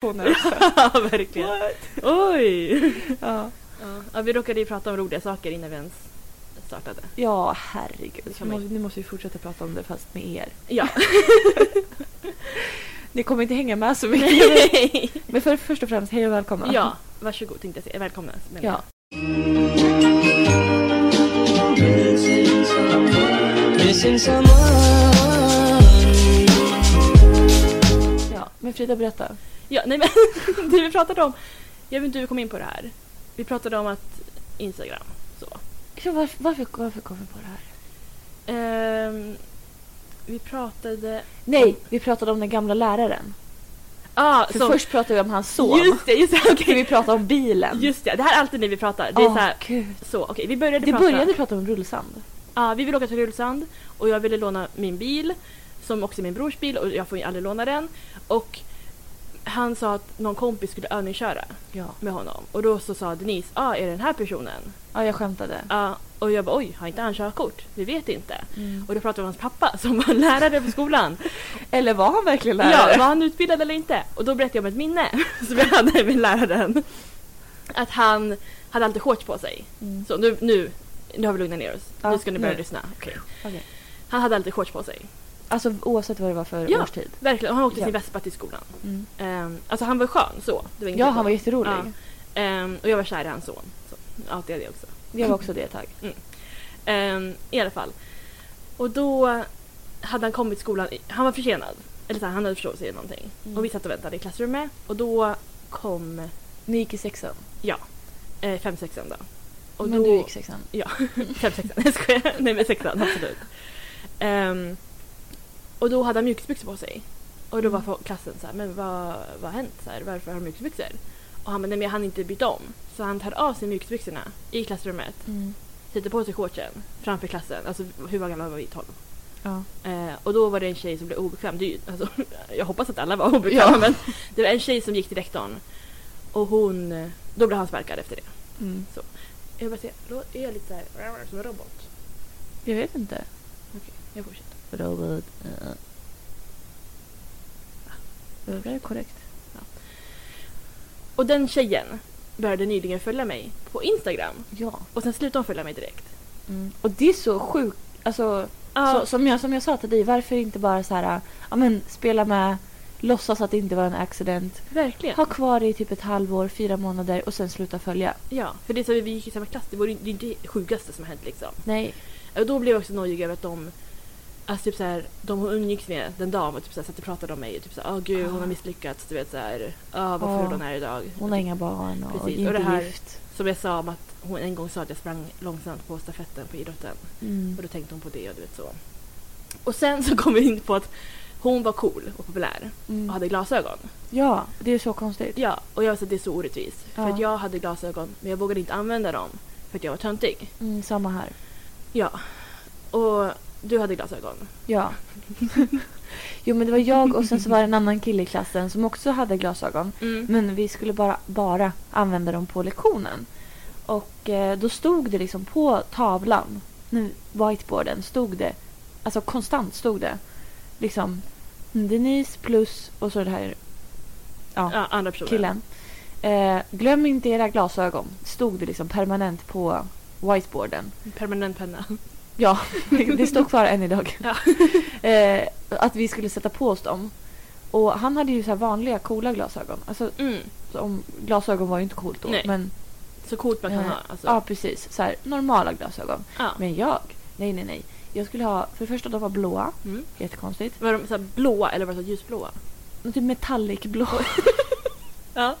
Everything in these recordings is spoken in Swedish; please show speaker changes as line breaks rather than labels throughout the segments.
reaktioner också.
Ja, verkligen. Oj!
Ja.
Ja. ja, vi råkade ju prata om roliga saker innan vi ens startade.
ja, herregud.
Som
Nu måste, nu måste vi fortsätta prata om det fast med er.
Ja.
Ni kommer inte hänga med så mycket.
Nej.
Men för, först och främst, hej och välkomna.
ja, varsågod tänkte jag säga. Välkomna. menar jag.
ja.
Missing someone.
Ja, Men Frida, berätta.
ja, nej men det vi pratade om. Jag vet inte hur vi kom in på det här. Vi pratade om att Instagram. Så.
Ja, varför, varför, varför kom vi på det här?
Ehm, vi pratade...
Nej, vi pratade om den gamla läraren.
Ah,
För
som-
först pratade vi om hans son.
Just det, just det.
Ska
okej.
vi prata om bilen?
Just det, det här är alltid när vi pratar. Det
det
är så här,
Gud.
så okej vi började
Det
prata.
började prata om rullsand.
Ja, vi ville åka till Rulsand och jag ville låna min bil som också är min brors bil och jag får ju aldrig låna den. Och han sa att någon kompis skulle övningsköra
Ja.
med honom och då så sa Denise, ja ah, är det den här personen?
ja, jag skämtade.
Ja, och jag bara oj, har inte han körkort? Vi vet inte.
Mm.
Och då pratade vi om hans pappa som var lärare på skolan.
Eller var han verkligen
Ja,
lärare?
var han utbildad eller inte? Och då berättade jag om ett minne som jag hade med läraren. Att han hade alltid shorts på sig.
Mm.
Så nu, nu, nu har vi lugnat ner oss.
Ja,
nu ska ni börja
nu.
lyssna. Okej.
Okej.
Han hade alltid shorts på sig.
Alltså oavsett vad det var för
Ja.
årstid.
Verkligen. Och han åkte
Ja.
sin vespa till skolan. Ehm, alltså han var skön så. Det var
Mm.
inget
Ja,
fel på
han var
honom.
jätterolig.
Ja. Ehm, och jag var kär i hans son. Så. Ja, det är det också. Mm.
Jag var också det ett tag.
Ehm, I alla fall. Och då hade han kommit till skolan. i- Han var försenad. Eller så här, han hade förstått sig i någonting.
Mm.
Och vi satt och väntade i klassrummet. Och då kom
Ni gick i sexan.
eh, femsexan då. Och
Men
då,
du gick sexan.
femsexan, jag skojar. Nej men sexan, absolut. Ehm, och då hade han mjukisbyxor på sig. Och då var
Mm.
fo- klassen så här, men vad, vad har hänt? Så här, varför har du mjukisbyxor? Och han bara, nej men jag hann inte byta om. Så han tar av sig mjukisbyxorna i klassrummet,
Mm.
sätter på sig shortsen framför klassen. Alltså hur gamla var vi? 12?
Ja.
Eh, och då var det en tjej som blev obekväm. Det är ju, alltså, jag hoppas att alla var obekväma men det var en tjej som gick till rektorn. Och hon, då blev han sparkad efter det.
Mm.
Jag bara säga, då är jag lite såhär som en robot.
Jag vet inte.
Okej, jag fortsätter.
Robot. Uh. Det där är korrekt.
Och den tjejen började nyligen följa mig på Instagram.
Ja.
Och sen slutade hon följa mig direkt.
Mm. Och det är så sjukt. Alltså, så, som, jag, som jag sa till dig, varför inte bara så här, eh, ja men spela med, låtsas att det inte var en accident.
verkligen.
Ha kvar det i typ ett halvår, fyra månader och sen sluta följa.
Ja, för det är så vi gick i samma klass. Det var ju det är inte det sjukaste som har hänt liksom.
Nej.
Och då blev jag också nojig över att de Alltså typ såhär, de hon umgicks med den dagen var typ såhär, satt och pratade om mig och typ såhär, åh gud hon
Ah.
har misslyckats, du vet såhär, ah varför
Ah.
är hon här idag?
Hon har inga barn och,
Precis,
är
och
inte
det här-
gift.
Som jag sa om att hon en gång sa att jag sprang långsamt på stafetten på idrotten. Och
Mm.
då tänkte hon på det och du vet så. Och sen så kom vi in på att hon var cool och populär och
Mm.
hade glasögon.
Ja, det är så konstigt.
Ja, och jag sa att det är så orättvist. För
Ja.
att jag hade glasögon men jag vågade inte använda dem för att jag var töntig.
Mm, samma här.
Ja. Och du hade glasögon.
Ja. jo men det var jag och sen så var det en annan kille i klassen som också hade glasögon.
Mm.
Men vi skulle bara, bara använda dem på lektionen. Och eh, då stod det liksom på tavlan, nu whiteboarden, stod det, alltså konstant stod det liksom Denise plus och så det här ja,
Ja, andra personer.
killen. Eh, glöm inte era glasögon, stod det liksom permanent på whiteboarden.
Permanent penna.
Ja, det står kvar än idag.
Ja.
Eh, att vi skulle sätta på oss dem. Och han hade ju så här vanliga coola glasögon. Alltså,
Mm.
som, glasögon var ju inte coolt då.
Nej.
Men
Så coolt man kan
Eh,
ha. Alltså.
ja, precis. Så här, normala glasögon.
Ja.
Men jag, nej nej nej. Jag skulle ha, för det första de var blåa.
Mm.
Jättekonstigt.
Var de så här blåa eller var de så här ljusblåa?
Men Typ metallicblå.
Ja.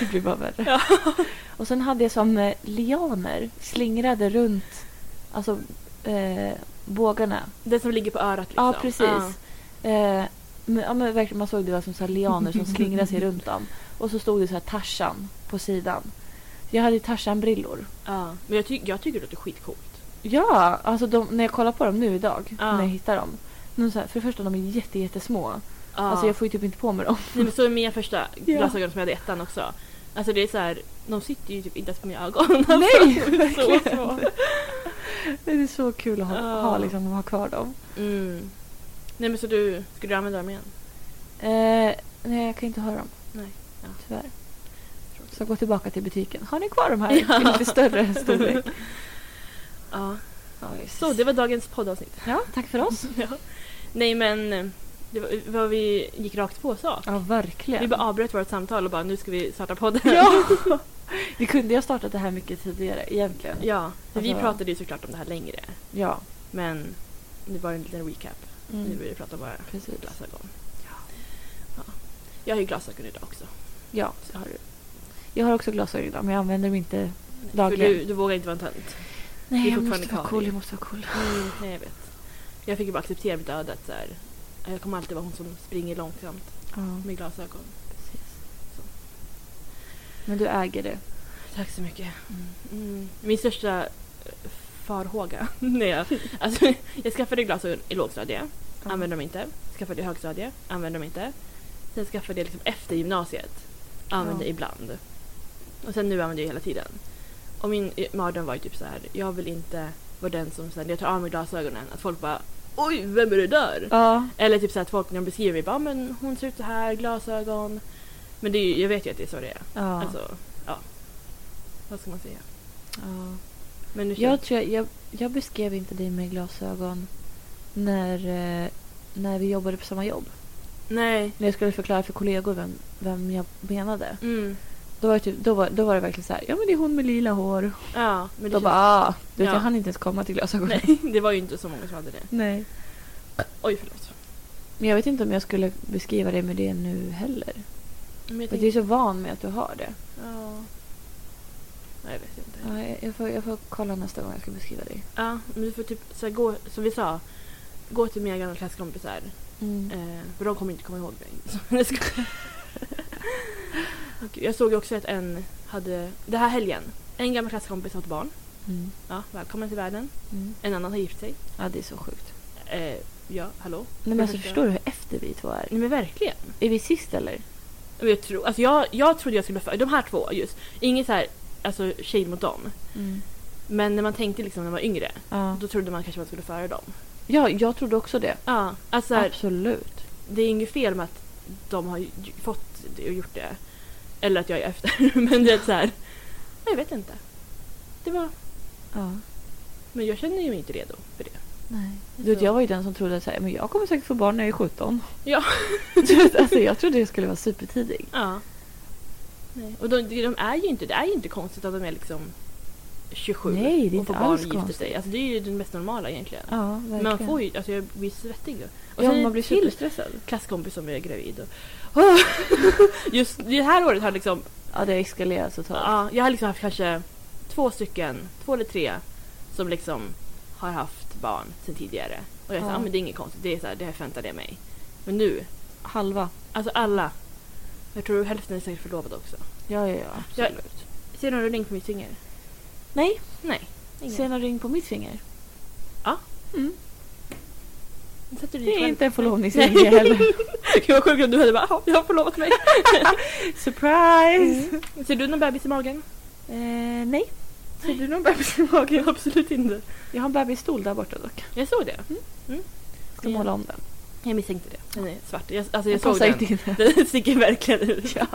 Det blir bara värre. Och sen hade jag som eh, lianer slingrade runt alltså, eh, bågarna.
Den som ligger på örat liksom.
Ja, precis. Eh, men, ja, men verkligen, man såg det var som så här lianer som slingrade sig runt dem. Och så stod det så här Tarzan på sidan. Jag hade ju Tarzan-brillor.
Ja. Men jag, ty- jag tycker det låter skitcoolt.
Ja, alltså de, när jag kollar på dem nu idag,
Ja.
när jag hittar dem. De är så här, för det första, de är jätte, jättesmå.
Ja.
Alltså jag får ju typ inte på mig dem.
Nej, men så är mina första
Ja.
glasögon som jag hade i ettan också. Alltså det är så här, de sitter ju typ inte ens på mina ögon. Alltså,
Nej,
de är så
verkligen.
små.
Det är så kul att ha,
Ja.
ha, liksom, ha kvar dem.
Mm. Nej men så du, ska du använda dem igen?
Eh, nej, jag kan inte ha dem.
Nej. Ja.
Tyvärr.
Tråkigt.
Så gå tillbaka till butiken. Har ni kvar de här?
Ja.
I lite större storlek.
Ja.
Ja, visst.
Så, det var dagens poddavsnitt.
Ja, tack för oss.
ja. Nej men, eh, det var, vad vi gick rakt på sak.
Ja, verkligen.
Vi bara avbröt vårt samtal och bara nu ska vi starta podden.
Ja. Vi kunde ju ha startat det här mycket tidigare egentligen.
ja. för Vi
Alltså-
pratade ju såklart om det här längre.
Ja,
Men nu var det en liten recap.
Mm.
Nu vill vi prata bara
precis.
glasögon. Ja. Jag har ju glasögon idag också.
Ja, så har du. Jag har också glasögon idag, men jag använder dem inte
För
dagligen.
du, du vågar inte vara en tönt.
Nej,
är
jag
fortfarande
måste vara
kvar
cool.
i.
Jag måste vara cool.
Mm, nej, jag vet. Jag fick ju bara acceptera mitt öde. att Så här, jag kommer alltid vara hon som springer långsamt
Ja,
med glasögon.
precis.
Så.
Men du äger det.
Tack så mycket. Mm. Min största eh, farhåga. när jag, alltså, jag skaffade glasögon i lågstadiet,
Ja.
använde dem inte. Skaffade i högstadiet, använde dem inte. Sen skaffade jag liksom efter gymnasiet, använde
Ja.
ibland. Och sen nu använder jag hela tiden. Och min eh, mardröm var ju typ så här, jag vill inte vara den som sen när jag tar av mig glasögonen, att folk bara Oj, vem är det där?
Ja,
Eller typ så här, att folk när de beskriver mig bara, "Ah, men hon ser ut så här, glasögon. Men det är ju, jag vet ju att det är så det är.
ja.
Alltså, ja. Vad ska man säga?
ja.
Men nu
Jag tror jag, jag, jag beskrev inte dig med glasögon när, eh, när vi jobbade på samma jobb.
Nej.
När jag skulle förklara för kollegor vem, vem jag menade.
Mm.
Då var, det typ, då, var, då var det verkligen så här, ja men det är hon med lila hår.
Ja, men det,
Då
känns...
bara, ah, du vet,
Ja.
jag hann inte ens komma till glasögonen.
Nej, det var ju inte så många som hade det.
Nej.
Oj, förlåt.
Men jag vet inte om jag skulle beskriva dig med det nu heller.
Men jag
För att jag är
tänkte...
så van med att du har det.
Ja. Nej, jag vet inte.
Ja, jag, jag, får, jag får kolla nästa gång jag ska beskriva dig.
Ja, men du får typ så här, gå, som vi sa, gå till mina gamla klasskompisar.
Mm.
Eh, för de kommer inte komma ihåg mig. Så jag ska- Och Jag såg ju också att en hade, det här helgen, en gammal klasskompis har ett barn.
Mm.
Ja, välkommen till världen.
Mm.
En annan har gift sig.
Ja, det är så sjukt.
Eh, ja, hallå?
Nej, men alltså,
förstår- Mm.
förstår du hur efter vi två är?
Nej men verkligen.
Är vi sist eller?
Men Jag, tror, alltså jag, jag trodde jag skulle vara för, de här två just, inget så här, alltså shade mot dem. Men när man tänkte liksom när man var yngre,
Ja.
Mm. då trodde man kanske man skulle föra dem.
ja, jag trodde också det.
Ja, alltså så här,
Absolut.
det är inget fel med att de har ju- fått det och gjort det. Eller att jag är efter, men det är så här, jag vet inte. Det var,
Ja.
men jag känner ju mig inte redo för det.
Nej. Du, vet,
Så.
jag var ju den som trodde att så här, men jag kommer säkert få barn när jag är 17.
Ja.
Du vet, alltså, jag trodde jag skulle vara supertidig.
Ja. Nej. Och de, de är ju inte, det är ju inte konstigt att de är liksom 27
Nej, det är
och
inte
får barn och
alls
gifter sig.
konstigt.
Alltså, det är ju det mest normala egentligen.
Ja, verkligen.
Man får ju, alltså jag blir svettig. då. Och
ja,
sen
man blir
till
superstressad.
klasskompis som är gravid. Och, just det här året har liksom,
Ja, det eskalerar totalt.
ja, jag har liksom haft kanske två stycken, två eller tre som liksom har haft barn sedan tidigare. Och jag sa,
Ja.
ja. ah, men det är inget konstigt, det är så här, det här förväntade jag mig. Men nu,
Halva.
alltså alla, jag tror hälften är säkert förlovade också.
Ja, ja, ja.
Jag, ser du någon ring på mitt finger?
Nej,
Nej. Ingen.
ser någon ring på mitt finger?
Ja.
Mm.
Sätter du
Det
dit
är
själv?
inte en
Nej.
förlovningsring heller.
Gud vad sjukt om du hade bara, "Ja, jag har förlovat mig.
Surprise!
Ser du någon bebis i magen?
Eh, nej. Ser du någon bebis i magen?
Absolut inte. Mm.
Jag har en bebisstol där borta dock.
Jag såg det.
Ska
Ja.
måla om den.
Jag misstänkte det. Den är svart. Jag, alltså
Den
jag såg
passar
den.
inte in.
Den sticker verkligen ut.
Ja.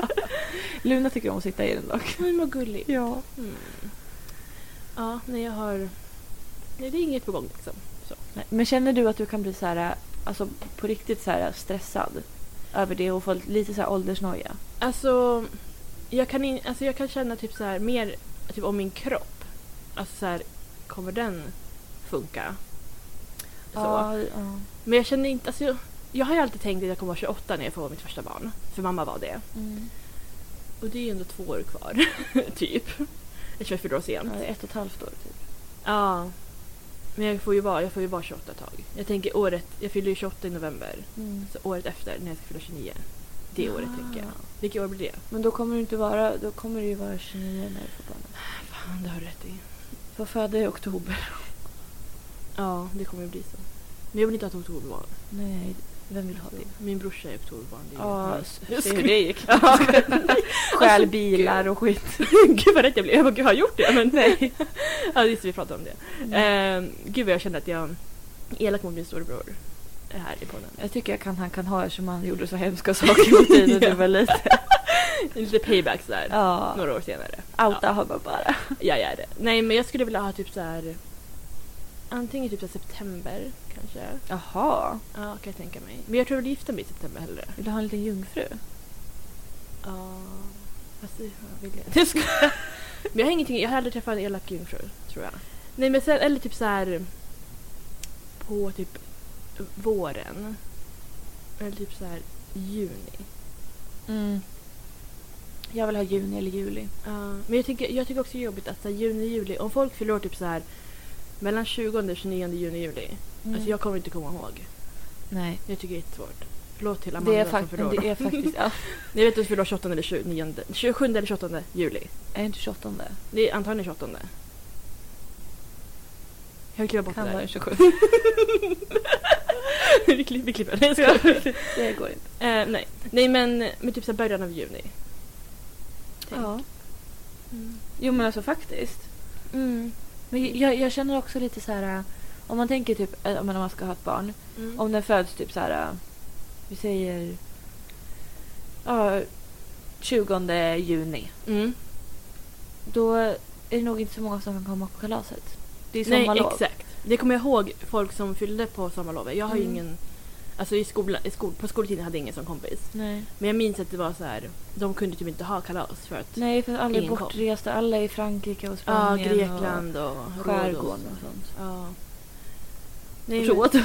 Luna tycker om att sitta i den dock.
Men vad gullig.
Ja.
Mm. Ja, nej jag har... Nej, det är inget på gång liksom. Så.
Nej, Men känner du att du kan bli så här, alltså på riktigt så här stressad över det och få lite så här åldersnoja?
Alltså, jag kan, in, alltså, jag kan känna typ så här mer typ om min kropp. Alltså så här, kommer den funka? Så.
ja.
Men jag känner inte, alltså jag, jag har ju alltid tänkt att jag kommer vara 28 när jag får mitt första barn. För mamma var det.
Mm.
Och det är ju ändå två år kvar, typ. Eftersom jag fyller år
ja
sent.
det är ett och ett halvt år typ.
Ja. Men jag får ju vara, jag får ju vara 28 ett tag. Jag tänker året, jag fyller ju 28 i november.
Mm.
Så året efter, när jag ska fylla 29. Det
Ah.
året tänker jag. Vilket år blir det?
Men då kommer du inte vara, då kommer du ju vara 29 när du får barnen.
Fan, det har du rätt i.
För föda i oktober.
Ja, det kommer ju bli så. Men jag vill inte ha ett oktoberbarn.
Nej, vem vill ha det?
Min brorsa är oktoberbarn. det är ju-
Ja,
Nej.
s-
Jag
se hur
skojar.
det gick.
Ja.
Stjäl bilar och skit.
Alltså, gud vad rätt jag blev. Jag bara, gud har jag gjort det? Men nej. ja, just det, vi pratade om det.
Mm.
Eh, gud vad jag kände att jag är elak mot min storebror här i podden.
Jag tycker jag kan, han kan ha eftersom han gjorde så hemska saker mot dig när
Ja.
du var liten.
Lite payback sådär.
Ja.
Några år senare.
Outa honom bara.
Ja, jag är det. Nej, men jag skulle vilja ha typ så här. Antingen typ så här september kanske.
Jaha.
Ja, kan jag tänka mig. Men jag tror jag vill gifta mig i september hellre.
Vill du ha en liten jungfru?
Ja. Fast det ja, vill jag inte. men jag har ingenting, jag har aldrig träffat en elak jungfru tror jag. Nej men sen, eller typ så här på typ våren. Eller typ så här juni.
Mm. Jag vill ha juni eller juli.
Ja, men jag tycker, jag tycker också det är jobbigt att så här, juni, juli, om folk fyller år typ så här mellan 20 och 29 juni, juli. Alltså jag kommer inte komma ihåg.
Mm. Nej.
Jag tycker det är jättesvårt. Förlåt till
Det är,
Amanda som
fakt-
fyller år.
det är faktiskt... Ja.
Ni vet att du fyller år 28 eller 29, 27 eller 28 juli.
Är det inte 28?
Det är antagligen 28. Jag vill kliva bort
Kan
det
vara den
där.
27.
vi klipper. Vi klipper. Nej, jag skojar.
Det går inte.
Eh, nej. nej, men, men typ så här början av juni. Tänk.
Ja.
Mm.
Jo men alltså faktiskt.
Mm.
Men jag, jag känner också lite så här... äh, Om man tänker typ äh, men om man ska ha ett barn.
Mm.
Om den föds typ så här... äh, Vi säger... Ja, 20 juni.
Mm.
Då är det nog inte så många som kan komma på kalaset. Det är
Nej,
sommarlov.
exakt. Det kommer jag ihåg folk som fyllde på sommarlovet. Jag har ju
Mm.
ingen... Alltså i skolan, i skol, på skoltiden hade jag ingen som kompis.
Nej.
Men jag minns att det var så här, de kunde typ inte ha kalas för att...
Nej, för alla är
Ingen kom.
bortresta. Alla är i Frankrike och
Ja,
Spanien.
Grekland och,
Och
Rhodos.
skärgården och sånt.
Ja. Nej, men-
Råd.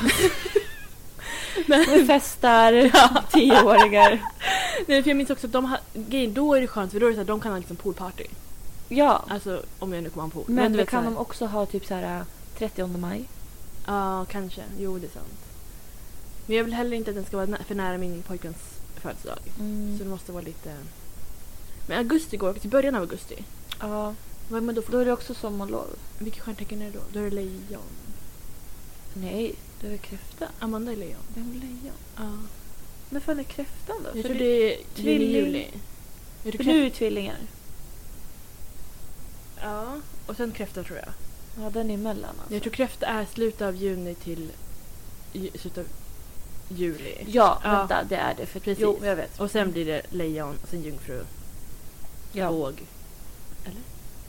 Men festar tioåringar.
Nej, för jag minns också att de ha, grejen, då är det skönt för då är det så här, de kan ha liksom poolparty.
Ja.
Alltså om jag nu kommer ha en pool.
Men,
du
det
vet
kan
så
de
här-
också ha typ så här 30 maj.
Ja, kanske. Jo, det är sant. Men jag vill heller inte att den ska vara nä- för nära min pojkväns födelsedag.
Mm.
Så det måste vara lite... Men augusti går, till början av augusti.
Ja.
Vad men då
Då
för...
är det också sommarlov.
Vilket stjärntecken är det då? Då är det lejon.
Nej, då är det kräfta.
Amanda är lejon.
Vem är lejon?
Ja.
Men fan är kräftan då?
Jag
För
tror
du-
det är
tvilling.
juni, juli. Är det
För du är
kräft...
ju tvillingar.
Ja. Och sen kräfta tror jag.
Ja, den är emellan alltså.
Jag tror kräfta är slutet av juni till ju, slutet av juli.
Ja,
Ja.
vänta, det är det. För...
Precis.
Jo, jag vet.
Och sen blir det lejon och sen jungfru,
Ja.
våg. Eller?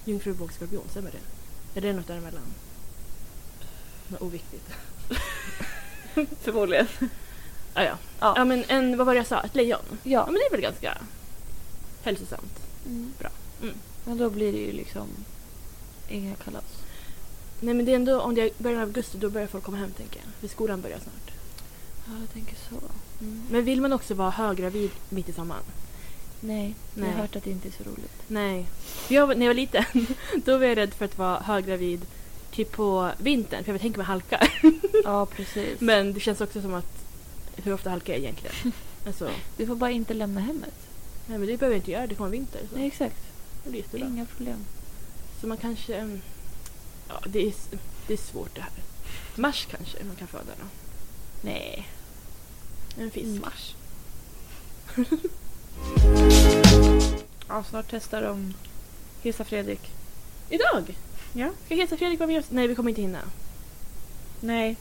Jungfru, våg, skorpion. Stämmer det? Är det något däremellan? Något oviktigt.
Förmodligen.
Ah, ja.
Ja.
ja. men en, vad var det jag sa? Ett lejon? Ja
Ja.
men det är väl ganska hälsosamt.
Mm.
Bra. Mm.
Men då blir det ju liksom inga kalas.
Nej men det är ändå om det är början av augusti då börjar folk komma hem tänker jag. För skolan börjar snart.
Ja, jag tänker så. Mm.
Men vill man också vara höggravid mitt i sommaren?
Nej, jag
Nej.
har hört att det inte är så roligt.
Nej. För Jag, var- när jag var liten då var jag rädd för att vara höggravid typ på vintern för jag tänker mig halka.
Ja, precis.
Men det känns också som att hur ofta halkar jag egentligen? Alltså,
Du får bara inte lämna hemmet.
nej men det behöver jag inte göra, det kommer vinter. Så.
Nej, Mm. exakt.
Det blir jättebra.
Inga problem.
Så man kanske... mm, Ja, det är, s- det är svårt det här. Mars kanske man kan föda då.
Nej. Mm.
En fisk.
Mars. ja, snart testar de Hissa Fredrik.
Idag!
Ja.
Ska Hesa Fredrik vara med oss? Nej, vi kommer inte hinna.
Nej.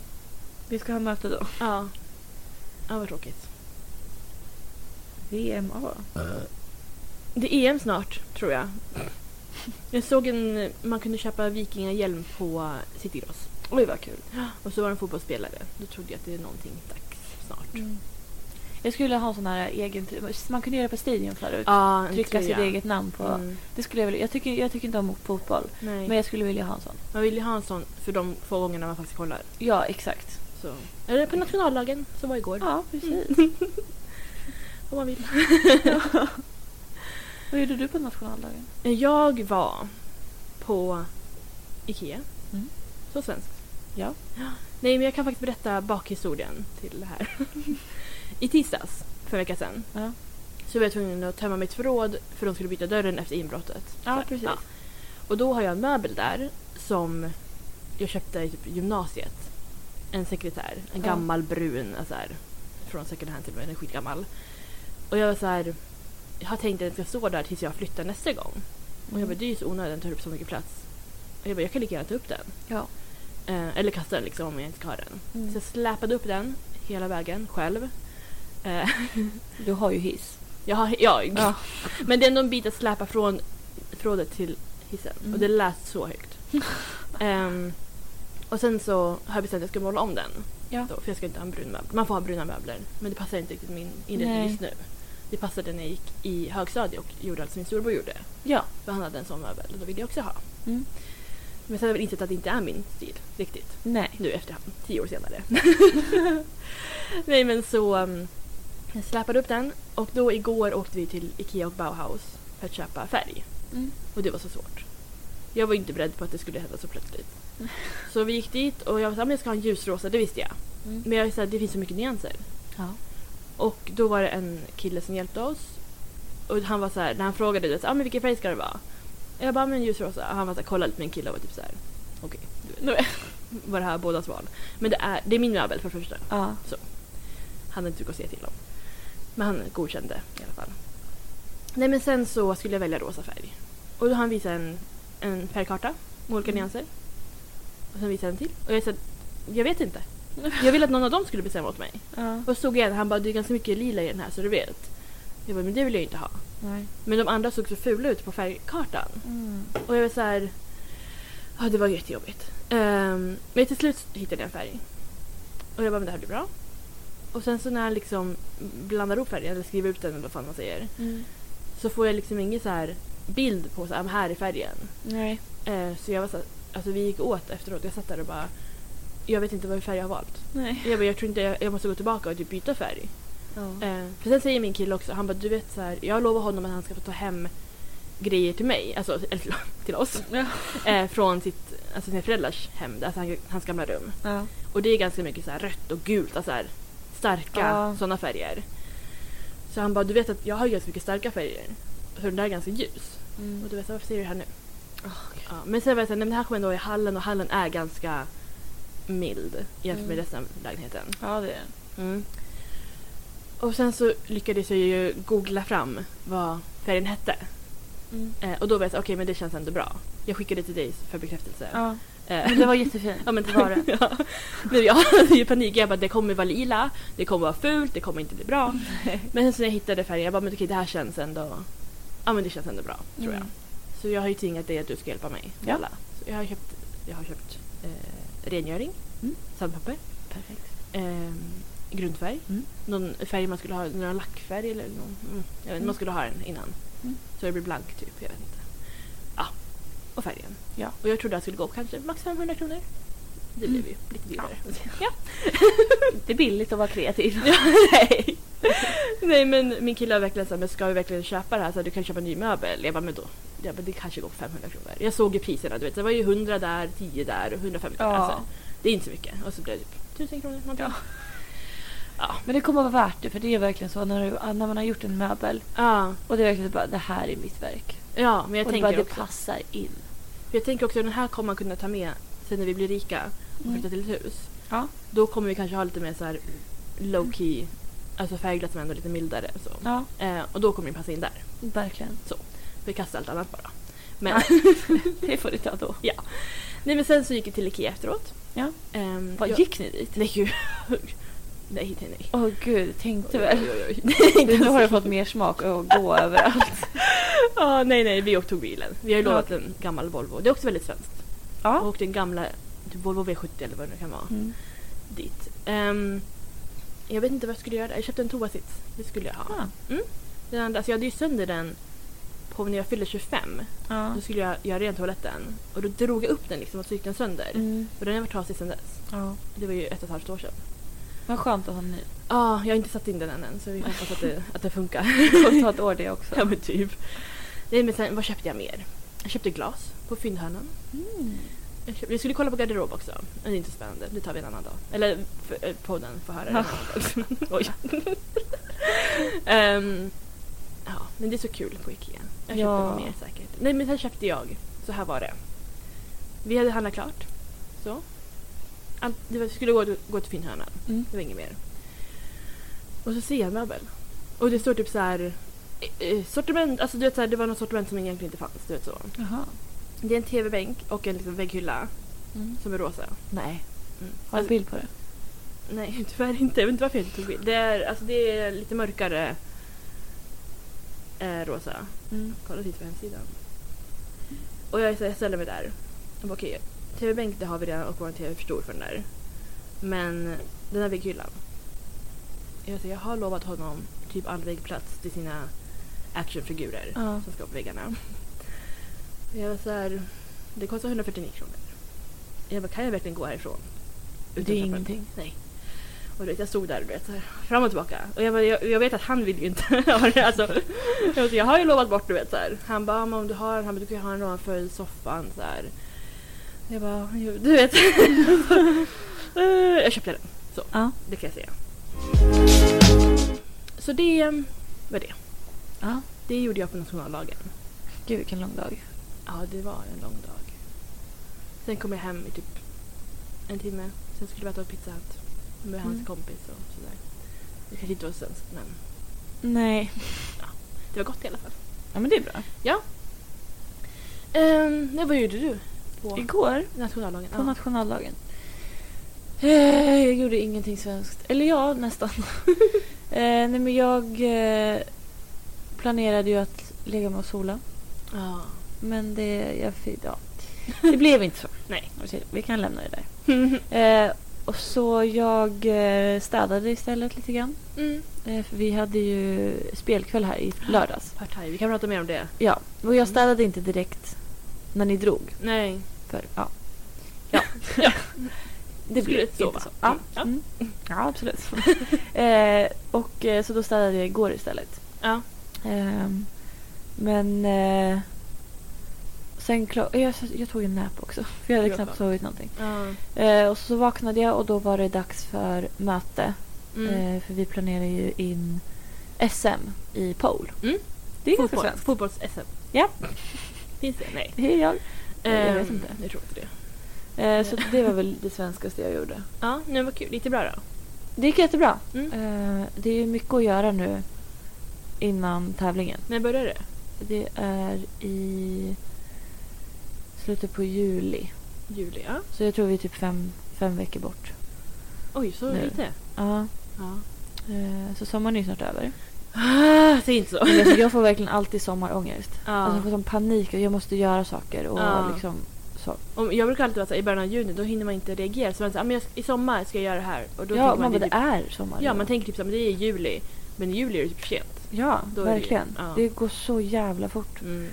Vi ska ha möte då.
Ja. Ja, vad tråkigt.
VMA.
Det är EM snart, tror jag. Jag såg en... Man kunde köpa vikingahjälm på Citygross.
Oj, vad kul.
Och så var det en fotbollsspelare. Då trodde jag att det är någonting dags snart.
Mm. Jag skulle ha en sån här egen... tr- Man kunde göra på Stadion förut.
Ja, en
Trycka
tröja.
sitt eget namn på.
Mm.
Det skulle jag, vilja. jag, tycker, jag tycker inte om fotboll,
Nej.
men jag skulle vilja ha en sån.
Man vill ju ha en sån för de få gångerna man faktiskt kollar.
Ja, exakt.
Så. Eller på nationaldagen, som var igår.
Ja, precis.
Om man vill.
Vad gjorde du på nationaldagen?
Jag var på Ikea.
Mm.
Så svenskt.
Ja.
Nej, men jag kan faktiskt berätta bakhistorien till det här. I tisdags, för en vecka sedan,
Ja.
så var jag tvungen att tömma mitt förråd för de skulle byta dörren efter inbrottet.
Ja,
Så-
precis.
Och då har jag en möbel där som jag köpte i typ gymnasiet. En sekretär, en
Ja.
gammal brun, alltså här, från second hand till och med, den är skitgammal. Och jag var så här, jag har tänkt att den ska stå där tills jag flyttar nästa gång. Och jag bara, det är ju så onödigt, den tar upp så mycket plats. Och jag bara, jag kan lika gärna ta upp den.
Ja.
Eh, eller kasta den liksom om jag inte ska ha den.
Mm.
Så jag släpade upp den hela vägen själv. Eh,
Du har ju hiss.
Jag har, jag.
Ja.
Men det är ändå en bit att släpa från förrådet till hissen.
Mm.
Och det lät så högt. Ehm, och sen så har jag bestämt att jag ska måla om den.
Ja.
Då, för jag ska inte ha en brun möbel. Man får ha bruna möbler. Men det passar inte riktigt min inredning
Nej.
just nu. Det passade när jag gick i högstadiet och gjorde allt som min storbror gjorde.
Ja.
För han hade en sån möbel och då ville jag också ha.
Mm.
Men sen har jag väl insett att det inte är min stil riktigt
Nej.
nu efterhand, tio år senare. Nej men så um, jag släpade upp den och då igår åkte vi till Ikea och Bauhaus för att köpa färg.
Mm.
Och det var så svårt. Jag var ju inte beredd på att det skulle hända så plötsligt. Så vi gick dit och jag sa att jag ska ha en ljusrosa, det visste jag.
Mm.
Men jag sa att det finns så mycket nyanser.
Ja.
Och då var det en kille som hjälpte oss. Och han var så här, när han frågade du vet, ah, men vilken färg ska det vara? Jag bara, "Ah, men ljusrosa. Och han var så här, kollade lite på min kille och var typ så här, okej. du vet. var det här bådas val. Men det är, det är min möbel för det första.
Ja.
Han hade inte mycket att säga till om. Men han godkände i alla fall. Nej men sen så skulle jag välja rosa färg. Och då han visade en, en färgkarta med olika
Mm.
nyanser. Och sen visade han till. Och jag sa, jag vet inte. Jag ville att någon av dem skulle bestämma åt mig.
ja.
Och såg jag en, han bara det är ganska mycket lila i den här så du vet. Jag bara men det vill jag ju inte ha.
Nej.
Men de andra såg så fula ut på färgkartan.
Mm.
Och jag var så här, ja det var jättejobbigt. Um, men till slut hittade jag en färg. Och jag bara men det här blir bra. Och sen så när han liksom blandar ihop färgen eller skriver ut den eller vad fan man säger.
Mm.
Så får jag liksom ingen så här bild på så här, "Ah, men här är färgen.
Nej.
Eh, så jag var så här, alltså vi gick åt efteråt. Jag satt där och bara, jag vet inte vad färg jag har valt.
Nej.
Jag bara jag tror inte, jag, jag måste gå tillbaka och typ byta färg.
Ja.
Eh, för sen säger min kille också, han bara du vet så här, jag lovar honom att han ska få ta hem grejer till mig, alltså eller till, till oss,
Ja.
eh, från sitt, alltså sina föräldrars hem, alltså han, hans gamla rum.
Ja.
Och det är ganska mycket så här rött och gult, alltså så här, starka
Ja.
sådana färger. Så han bara du vet att jag har ju ganska mycket starka färger, så den där är ganska ljus.
Mm.
Och du vet varför säger du det här nu? Ja, men sen var jag såhär, nej men det här kommer ändå i hallen och hallen är ganska mild jämfört med
Mm.
resten av lägenheten.
Ja, det är den.
Och sen så lyckades jag ju googla fram vad färgen hette.
Mm.
Eh, och då var jag så, okej men det känns ändå bra. Jag skickade till dig för bekräftelse.
Ja.
Eh,
Men det var jättefint.
ja, men
det var det.
ja. Men jag hade ju panik. Jag bara, det kommer vara lila, det kommer vara fult, det kommer inte bli bra. Men sen så när jag hittade färgen, jag bara, men okej det här känns ändå... Ja men det känns ändå bra, tror jag.
Mm.
Så jag har ju tvingat dig att du ska hjälpa mig.
Ja.
måla. Så jag har köpt, jag har köpt eh, rengöring,
Mm.
sandpapper,
Perfekt.
ehm, grundfärg.
Mm.
Någon färg man skulle ha, någon lackfärg eller någon, mm, jag vet, inte, man skulle ha den innan.
Mm.
Så det blir blank typ, jag vet inte. Ja, och färgen.
Ja.
Och jag trodde att det skulle gå upp kanske max 500 kronor. Det blev ju lite dyrare. Ja.
Det är billigt att vara kreativ.
Nej. Nej men min kille har verkligen sagt, men ska vi verkligen köpa det här? Så här, du kan köpa en ny möbel. Jag bara, men då. Jag bara, det kanske går för 500 kronor. Jag såg ju priserna, du vet. Det var ju 100 där, 10 där och 150 där.
Ja.
Alltså, det är inte så mycket. Och så blev det typ 1000 kronor. Man ja. Ja.
Men det kommer att vara värt det för det är verkligen så när, du, när man har gjort en möbel
ja.
och det är verkligen bara det här är mitt verk.
Ja, men jag
och det, bara,
tänker,
det
också,
passar in.
för jag tänker också den här kommer man kunna ta med sen när vi blir rika och
Mm.
flyttar till ett hus.
Ja.
Då kommer vi kanske ha lite mer så här low key, alltså färgglatt men ändå lite mildare. Så.
Ja,
Eh, och då kommer det passa in där.
verkligen.
Vi kastar allt annat bara. Men,
Det får du ta då.
nej, men sen så gick vi till Ikea efteråt.
Ja.
Ehm,
Vad
jag-
gick ni dit?
Nej gud. nej, nej, nej.
Åh gud, tänkte väl.
Oj, oj,
Du,
oj.
nu har du fått mer smak att gå överallt.
Ja, nej, nej, vi åkte tog bilen. Vi har ju
Ja.
lovat en gammal Volvo. Det är också väldigt svenskt. Vi
Ja.
åkte en gamla typ Volvo V70 eller vad det nu kan vara
Mm.
dit. Ehm, jag vet inte vad jag skulle göra där. Jag köpte en toasits. Det skulle jag ha.
Ah.
Den andra, alltså jag hade ju sönder den på när jag fyllde 25.
Ja.
Då skulle jag göra rent toaletten. Och då drog jag upp den liksom och så gick den sönder.
Mm.
Och den har varit trasig sedan dess.
ja.
Det var ju ett och ett halvt år sedan.
Vad skönt att ha en ny.
Ja, jag har inte satt in den än, än så vi hoppas att det, att det funkar.
Det kommer ta ett år det också.
Ja men typ. Nej men sen, vad köpte jag mer? Jag köpte glas på fyndhörnan.
Mm.
Jag köpte, vi skulle kolla på garderob också. Men det är inte så spännande, det tar vi en annan dag. Eller för, eh, podden får höra det en
Ja.
annan dag. Oj. Ehm, ja, men det är så kul på Ikea. Jag köpte
Ja.
nog mer säkert. Nej men sen köpte jag, så här var det. Vi hade handlat klart. Så. Allt, det var, skulle gå, gå till fyndhörnan.
Mm.
Det var inget mer. Och så ser jag en möbel. Och det står typ så här... eh, eh, Sortiment, alltså du vet så här, det var något sortiment som egentligen inte fanns. Du vet så.
Jaha.
Det är en tv-bänk och en liksom vägghylla
Mm.
som är rosa.
Nej.
Mm.
Har du
Alltså,
bild på det?
nej, tyvärr inte. Jag vet inte varför jag inte tog bild. Det är, alltså, det är lite mörkare eh, Rosa.
Mm.
Kolla hit på hemsidan. Och jag, så jag ställer mig där. Jag bara, okej, TV-bänk det har vi redan och vår TV är för stor för den där. Men den här vägghyllan. Jag, säger, jag har lovat honom typ all väggplats till sina actionfigurer
Ja.
som ska på väggarna. Och Jag var så här, det kostar 149 kronor. Jag bara, kan jag verkligen gå härifrån?
Det är
Utan trappor?
ingenting.
Nej. Och du vet, jag stod där du vet, så här, fram och tillbaka. Och jag, bara, jag, jag vet att han vill ju inte ha det. Alltså, jag, bara, jag har ju lovat bort du vet. Så här. Han bara, "Ja, men om du har den, han bara, du kan ju ha den ovanför soffan. Så här. Jag bara, "Jo, du vet. Eh, jag köpte den,
Ja.
det kan jag säga. Så det eh, var det.
ja.
Det gjorde jag på nationaldagen.
Gud vilken lång dag.
Ja, det var en lång dag. Sen kom jag hem i typ en timme. Sen skulle vi äta på Pizza Hut med
Mm.
hans kompis och sådär. Det kanske inte var svenskt, men
Nej.
det var gott i alla fall.
Ja men det är bra.
Um, nej, vad gjorde du på
Igår
nationaldagen?
på nationaldagen. Eh, jag gjorde ingenting svenskt. Eller ja, nästan. eh, nej men jag eh, planerade ju att lägga mig och sola.
Ja.
Men det, jag, fi- ja. det blev inte så.
Nej.
Vi kan lämna det där. Eh, och så jag eh, städade istället lite grann.
mm.
Eh, för vi hade ju spelkväll här i lördags.
Partaj, vi kan prata mer om det.
Ja, och jag
Mm.
städade inte direkt när ni drog.
Nej.
För, ja. Ja. Det
Skulle
blev
så,
inte
va?
så. Ja,
Ja.
mm. ja absolut. eh, och eh, så då städade jag igår istället.
Ja.
Ehm, men eh, sen klar, jag, jag tog en nap också. För jag hade
Det var
knappt
skönt.
sovit någonting.
Ja.
Eh, och så vaknade jag och då var det dags för möte.
Mm.
Eh, för vi planerar ju in SM i pole.
Mm.
Det är ganska
Fotboll.
svenskt.
Fotbolls-SM.
Ja.
Finns det? Nej.
Det är jag. Jag vet
Ehm,
inte.
Jag tror inte det.
Eh, så det var väl det svenskaste jag gjorde.
Ja, nu var kul. Lite bra då.
Det gick jättebra.
Mm.
Eh, det är ju mycket att göra nu innan tävlingen.
När började det?
Det är i slutet på juli.
Juli, ja.
Så jag tror vi är typ fem, fem veckor bort.
Oj, så
Nu.
lite.
Ja,
Ja.
eh, så sommaren är ju snart över.
Ah, säg inte så.
Men alltså, jag får verkligen alltid sommarångest.
Ja.
Alltså, jag får sån panik och jag måste göra saker. Och
Ja.
liksom, så.
Om- Jag brukar alltid vara så här, i början av juni, då hinner man inte reagera. Så man säger, ah, men jag, i sommar ska jag göra det här. Och då
ja,
tänker
man, bara,
det är
det är sommar.
typ, ja, man tänker typ så här, men det är i juli. Men i juli är det typ för sent.
ja
då är det ju-
verkligen.
ja.
Det går så jävla fort.
Mm.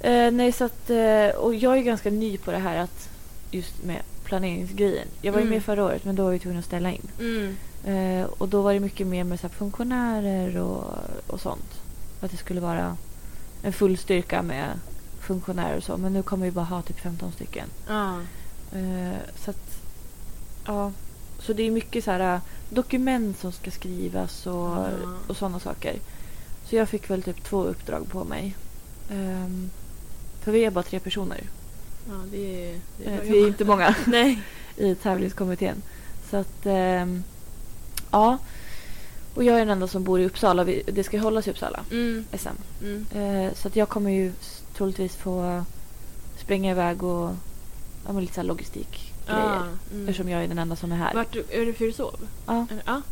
Eh, nej, så att, eh, och jag är ganska ny på det här att just med planeringsgrejen. Jag var ju
Mm.
med förra året men då var vi tvungna att ställa in.
Mm.
Eh, och då var det mycket mer med så här funktionärer och, och sånt. Att det skulle vara en full styrka med funktionärer och så. Men nu kommer vi bara ha typ 15 stycken.
Ja.
Eh, så att, ja. Så det är mycket så här eh, dokument som ska skrivas och,
Ja.
och sådana saker. Så jag fick väl typ två uppdrag på mig. Ehm, för vi är bara tre personer.
ja, det är, det är
Eh,
bra
Vi är
jobbat.
inte många
Nej.
i tävlingskommittén. Så att, ehm, ja. Och jag är den enda som bor i Uppsala. Vi- Det ska hållas i Uppsala,
Mm.
SM.
Mm.
Eh, Så att jag kommer ju s- troligtvis få springa iväg och ja, men lite så här logistikgrejer.
Ja, mm.
Eftersom jag är den enda som är här.
Vart du- är det för du sov?
Ja, Mm.
Eller- Ja.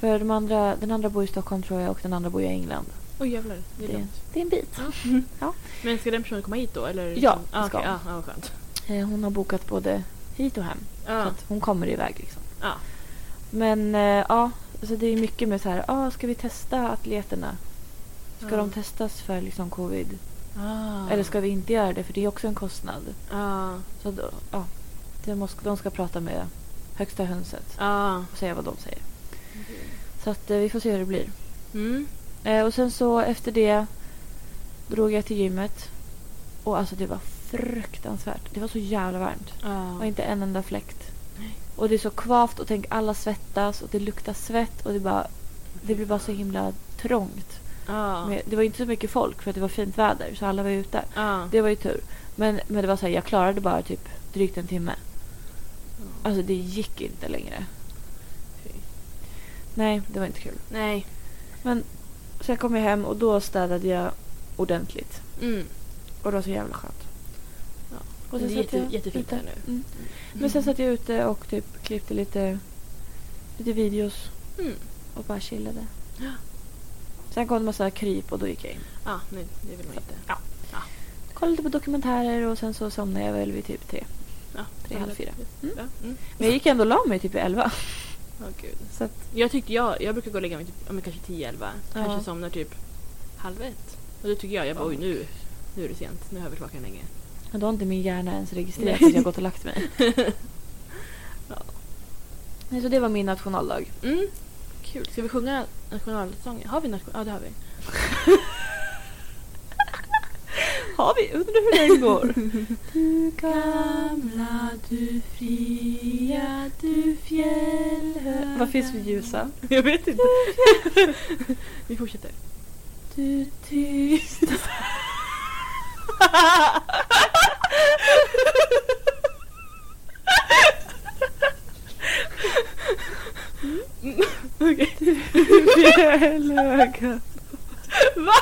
för de andra, den andra bor i Stockholm tror jag och den andra bor i England.
Oj jävlar, det är
Det,
långt.
det är en bit.
Men ska den personen komma hit då? Eller?
Ja,
ah,
ska
okej.
hon.
Ja, ah, vad skönt.
Eh, Hon har bokat både hit och hem. Så
Ja.
att hon kommer iväg liksom.
Ja.
Men eh, ja, så det är mycket med så här, ah, ska vi testa atleterna? Ska
Ja.
de testas för liksom covid?
Ah.
Eller ska vi inte göra det? För det är också en kostnad.
Ja.
Så då, ja, det måste, de ska prata med högsta hönset
Ja.
och säga vad de säger. Så att, eh, vi får se hur det blir.
Mm.
Eh, och sen så efter det drog jag till gymmet. Och alltså det var fruktansvärt. Det var så jävla varmt.
Ja.
Och inte en enda fläkt.
Ah. Nej.
Och det är så kvavt och tänk alla svettas och det luktar svett och det, bara, det blir bara så himla trångt.
Ja.
Men det var ju inte så mycket folk för att det var fint väder så alla var ju ute.
Ja.
Det var ju tur. Men, men det var så här, jag klarade bara typ drygt en timme.
Ah.
Alltså det gick inte längre.
Fy.
Nej, det var inte kul.
Nej.
Men sen kom jag hem och då städade jag ordentligt.
Mm.
Och det var så jävla skönt.
Ja.
Och
Det är
sen satt
jätte,
jag
jättefint
ute.
där nu.
Mm. Men sen satt jag ute och typ klippte lite, lite videos
Mm.
och bara chillade.
Ja.
Så Sen kom det massa kryp och då gick jag in.
Ja, Ah, nej, det vill man inte.
Ja. Kollade lite på dokumentärer och sen så somnade jag väl vid typ tre.
Ja,
Tre, halv fyra.
Mm. Ja, mm.
Men jag gick ändå och la mig typ vid elva.
Åh, gud.
Så att,
Jag, tyckte jag, jag brukar gå och lägga mig typ, ja, men kanske 10-11.
Ja.
Kanske somnar typ halv ett. Och då tycker jag, jag bara, oj nu, nu är det sent. Nu har jag varit vaken länge.
men då har inte min hjärna ens registrerat
Nej.
att jag gått och lagt mig. Nej, så det var min nationaldag.
Mm. Kul. Ska vi sjunga nationalsången? Har vi nation... Ja, det har vi.
Har vi? Undrar hur den går. du
Gamla du fria du fjällhöga
Varför finns vi ljusa?
Jag vet inte. vi fortsätter.
Du tyst.
Okej.
Fjällhöga.
Va?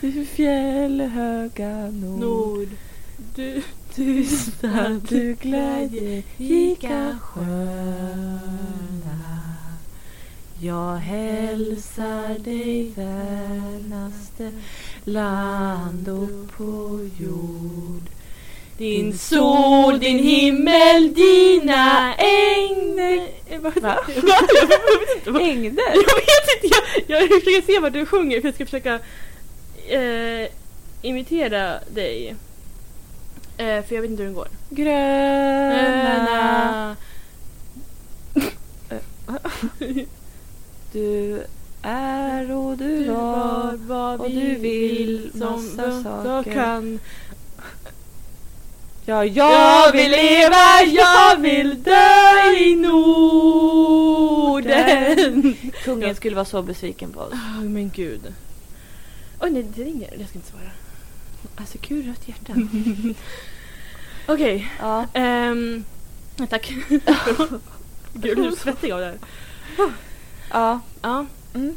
Du fjällhöga nord.
Nord. Du.
Tysta du glädjerika sköna. Jag hälsar dig vänaste land och på jord.
Din sol, din himmel, dina ängder.
Va?
Eh, Jag vet inte vad-
Ängder?
Jag vet inte, jag, jag försöker se vad du sjunger för jag ska försöka eh, imitera dig. Eh, för jag vet inte hur den går.
Gröna. Du är och du
Du var
var.
Eh, vad
och
vi
du vill massa
som jag
saker.
kan.
Ja, jag vill leva, jag vill dö i Norden.
Orden!
Kungen skulle vara så besviken på oss.
Åh, men gud. Oj nej, det ringer. Jag ska inte svara.
Alltså gud, rött hjärta.
Okej.
Ja.
ehm, nej, tack. gud, nu svettig jag där.
ja.
Ja,
Mm.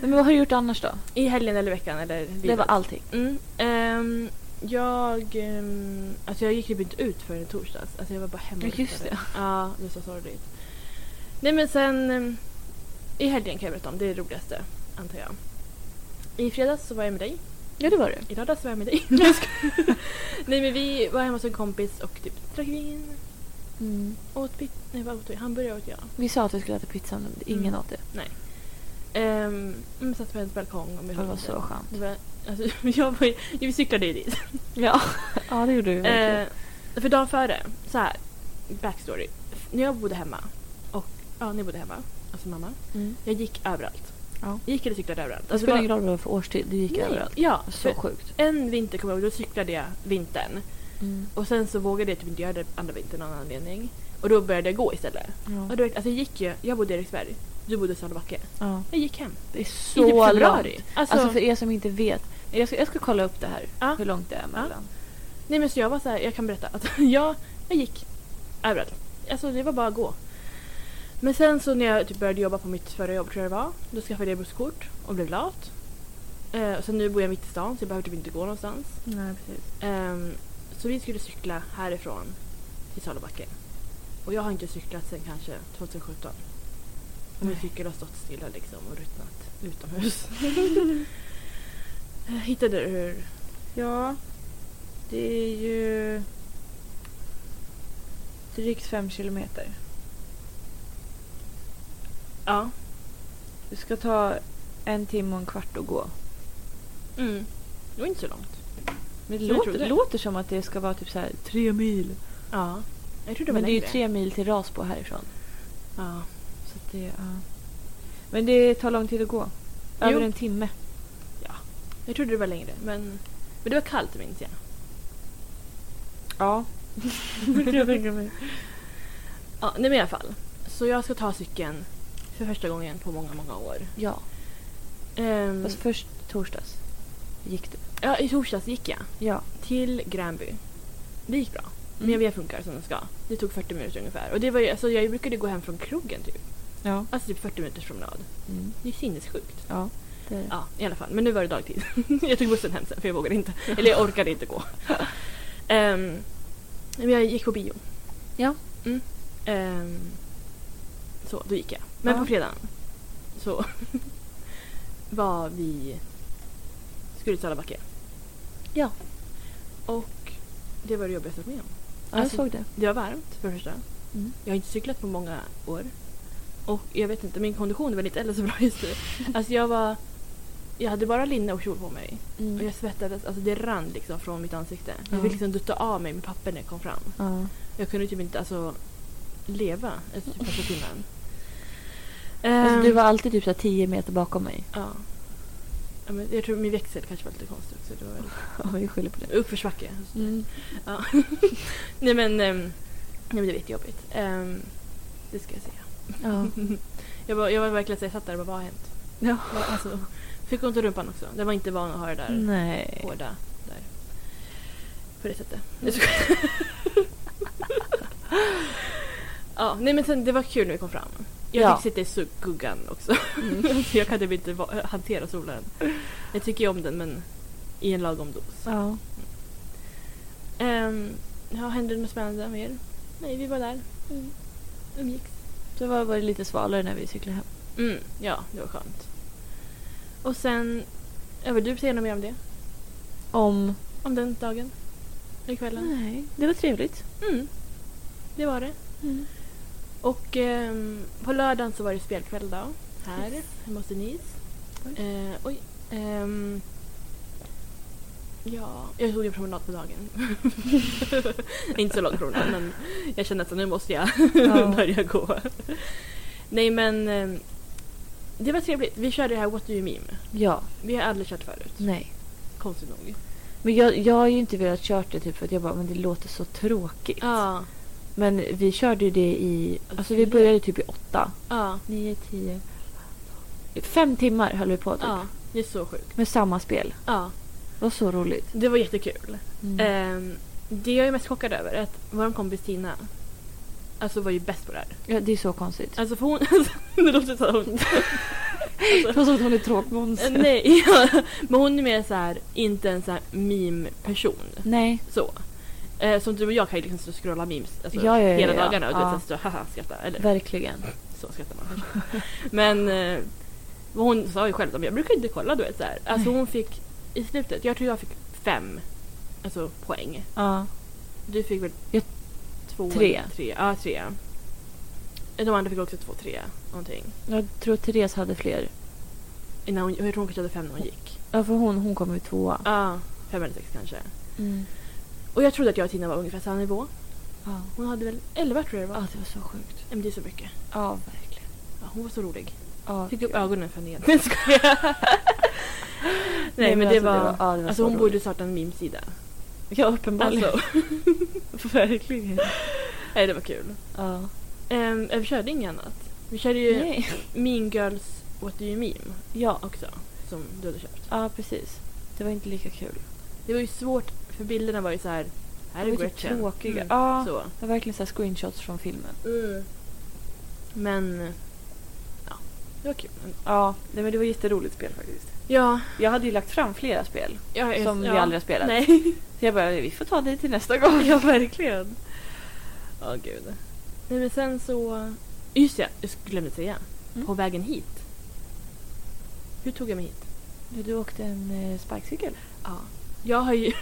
Men vad har du gjort annars då?
i helgen eller veckan eller
Det
livet.
var allting.
Mm. ehm, jag, ehm, alltså jag gick typ inte ut förrän i torsdags. Alltså jag var bara hemma.
Ja,
och
just
hittade. Ja, det är så sorgligt. Nej men sen ehm, i helgen kan jag berätta om. Det är det roligaste antar jag. I fredags så var jag med dig.
Ja, det var det.
I lördags var jag med dig. Nej, jag skojar. Nej men vi var hemma hos en kompis och typ drack vin.
Mm.
Åt pizza. Nej vad åt vi? Hamburgare åt jag.
Vi sa att vi skulle äta pizza, men ingen
Mm.
åt det.
Um, satt på hennes balkong. Och vi
Det var
hade-
så skönt.
Det var, alltså, jag var ju, vi cyklade ju dit.
Ja, ja det gjorde vi verkligen.
Eh, för dagen före, så här, backstory. F- När jag bodde hemma, och ja, när jag bodde hemma, alltså mamma,
Mm.
jag gick överallt.
Ja.
Gick eller cyklade överallt.
Alltså,
Alltså
Det spelar ingen roll vad det var för årstid, det gick överallt.
Ja,
Så
för
sjukt.
en vinter kom jag ihåg, då cyklade jag vintern. Och sen så vågade jag typ inte göra det andra vintern av någon anledning. Och då började jag gå istället.
Ja.
Och du vet, alltså jag gick ju, jag bodde i Eriksberg, du bodde i Sölvbacka.
Ja.
Jag gick hem.
Det är
I typ
så långt.
februari. Alltså,
Alltså för er som inte vet. Jag ska, jag ska kolla upp det här.
Ja.
Hur långt det är mellan.
Nej men så jag var så här, jag kan berätta att jag, jag gick överallt. Alltså det var bara att gå. Men sen så när jag typ började jobba på mitt förra jobb tror jag det var, då skaffade jag busskort och blev lat. Eh, och sen nu bor jag mitt i stan så jag behöver typ inte gå någonstans.
Nej, precis.
Ehm, så vi skulle cykla härifrån till Salobacke. Och jag har inte cyklat sedan kanske 2017. Och min
Nej.
cykel har stått stilla liksom och ruttnat utomhus. Eh, Hittade du hur...
Ja, det är ju drygt fem kilometer.
Ja.
Det ska ta en timme och en kvart att gå.
Mm. Det var inte så långt.
Men det
Jag
låter,
trodde
det
det.
låter som att det ska vara typ så här tre mil.
Ja. Jag trodde det var
Men det är ju
längre.
tre mil till Rasbo härifrån.
Ja.
Så att det, ja. Men det tar lång tid att gå. Över
Jo.
en timme.
Jag trodde det var längre, men, men det var kallt minns jag.
Ja. jag tänka mig.
Ja, nej men i alla fall. Så jag ska ta cykeln för första gången på många, många år.
Ja,
Ehm,
fast först torsdags gick du.
ja, I torsdags gick jag
Ja.
till Gränby. Det gick bra.
Mm.
Men jag funkar som den ska. Det tog 40 minuter ungefär. Och det var ju, alltså, jag brukade gå hem från krogen typ.
Ja.
Alltså typ 40 minuters promenad.
Mm.
Det är sinnessjukt.
Ja. Det är det.
Ja, i alla fall. Men nu var det dagtid. jag tog bussen hem sen för jag vågade inte. Eller jag orkade inte gå. Ehm, men jag gick på bio.
Ja.
Mm. Ehm, så, då gick jag. Men
Ja.
på fredagen så var vi skulle till Salabacken.
Ja.
Och det var det jobbigaste jag varit med om.
Ja, jag
Alltså,
såg det.
Det var varmt för det första.
Mm.
Jag har inte cyklat på många år. Och jag vet inte, min kondition är väl inte heller så bra just nu. Alltså jag var... Jag hade bara linne och kjol på mig. Och jag svettades, alltså det rann liksom från mitt ansikte. Jag
Mm. Ja.
fick liksom dutta av mig med papper när jag kom fram.
Ja.
Jag kunde typ inte alltså leva efter typ första timmen.
Alltså,
Ehm,
du var alltid typ så här 10 meter bakom mig.
Ja. ja men jag tror min växel kanske var lite konstig också. Det var väl
Ja, vi skyller på det.
uppförsbacke.
Mm.
Ja. nej men... ehm, nej men det var jättejobbigt. Um, det ska jag säga.
Ja.
Jag var, jag var verkligen så jag satt där och bara vad har hänt?
Ja.
Jag, alltså, fick ont i rumpan också. Den var inte van att ha det där
Nej.
hårda där. På det sättet. Jag skojar. ja, nej men sen, det var kul när vi kom fram. Jag
Ja. Mm.
fick sitta i sugguggan också. För jag kan typ inte va- hantera solen. Jag tycker ju om den men i en lagom dos.
Ja.
Um, ja, hände det något spännande med er? Nej, vi var där. Mm. Umgicks.
Så var, var det lite svalare när vi cyklade hem.
Mm, ja, det var skönt. Och sen... Ja, vill du säga något mer om det?
Om...
Om den dagen? Eller kvällen?
Nej, det var trevligt.
Mm. Det var det.
Mm.
Och ehm, på lördagen så var det spelkväll då. Här,
Yes.
hemma hos Denise.
Oj.
Eh, oj. Ehm, ja, jag tog en promenad på dagen. Inte så lång promenad men jag kände att nu måste jag
Ja.
börja gå. Nej men ehm, det var trevligt. Vi körde det här What Do You Meme.
Ja,
Vi har aldrig kört förut.
nej.
Konstigt nog.
Men jag, jag har ju inte velat kört det typ för att jag bara, men det låter så tråkigt.
Ja,
Men vi körde ju det i... Alltså vi
Fyra.
började typ i åtta.
ja,
Nio, tio... Fem timmar höll vi på typ.
ja. Det är så sjukt.
Med samma spel.
Ja,
Det var så roligt.
det var jättekul.
Mm.
Ehm, det jag är mest chockad över är att vår kompis Tina alltså var ju bäst på det här.
Ja, det är så konstigt.
Alltså för hon... Alltså, det låter som hon...
Det var som att hon är tråkmåns.
Eh, Nej, ja, men hon är mer så här, inte en så här meme-person.
Nej.
Så. Eh, som du och jag kan ju liksom stå och scrolla memes alltså,
Ja, ja, ja,
hela
ja.
dagarna och du
Ja.
vet, så här stå och haha skratta. Eller
Verkligen.
så skrattar man kanske. Men eh, hon sa ju själv att jag brukar inte kolla du vet så här. Alltså
Nej.
hon fick i slutet, jag tror jag fick fem alltså, poäng.
Ja.
Du fick väl
Jag-
två
tre.
eller tre. Ja, tre. De andra fick också två, tre någonting.
Jag tror Therese hade fler.
Innan hon, jag tror hon kanske hade fem när hon gick.
Ja, för hon, hon kom ju tvåa.
Ja, fem eller sex kanske.
Mm.
Och jag trodde att jag och Tina var ungefär samma nivå.
Ja.
Hon hade väl elva tror jag det var.
ja, det var så sjukt.
Men det är så mycket.
Ja, verkligen.
Ja, hon var så rolig.
Ja,
Fick upp
gud.
ögonen för henne. Nej, skojar. Nej, men det
alltså,
var...
ja, det var
Alltså
så
hon
roligt.
borde starta en meme-sida.
Ja, uppenbarligen.
Alltså,
verkligen.
nej det var kul.
Ja.
Um, vi körde inget annat. Vi körde ju
Nej.
Mean Girls What Do You Meme
Ja,
också. Som du hade köpt.
ja, precis. Det var inte lika kul.
Det var ju svårt, för bilderna var ju så här. Här
De
är
var typ
Gretchen.
tråkiga.
Mm.
Ja.
Så.
Det var verkligen så Mm. här screenshots från filmen.
Men... Ja, det var kul. ändå.
Ja, nej, men det var jätteroligt spel faktiskt.
Ja,
Jag hade ju lagt fram flera spel
jag,
som
ja.
vi aldrig har spelat.
Nej.
Så jag bara, vi får ta det till nästa gång.
ja, verkligen. Ja, gud. Nej, men sen så... Just det, jag glömde säga.
Mm.
På vägen hit. Hur tog jag mig hit?
Du, du åkte en eh, sparkcykel.
Ja. Jag har ju...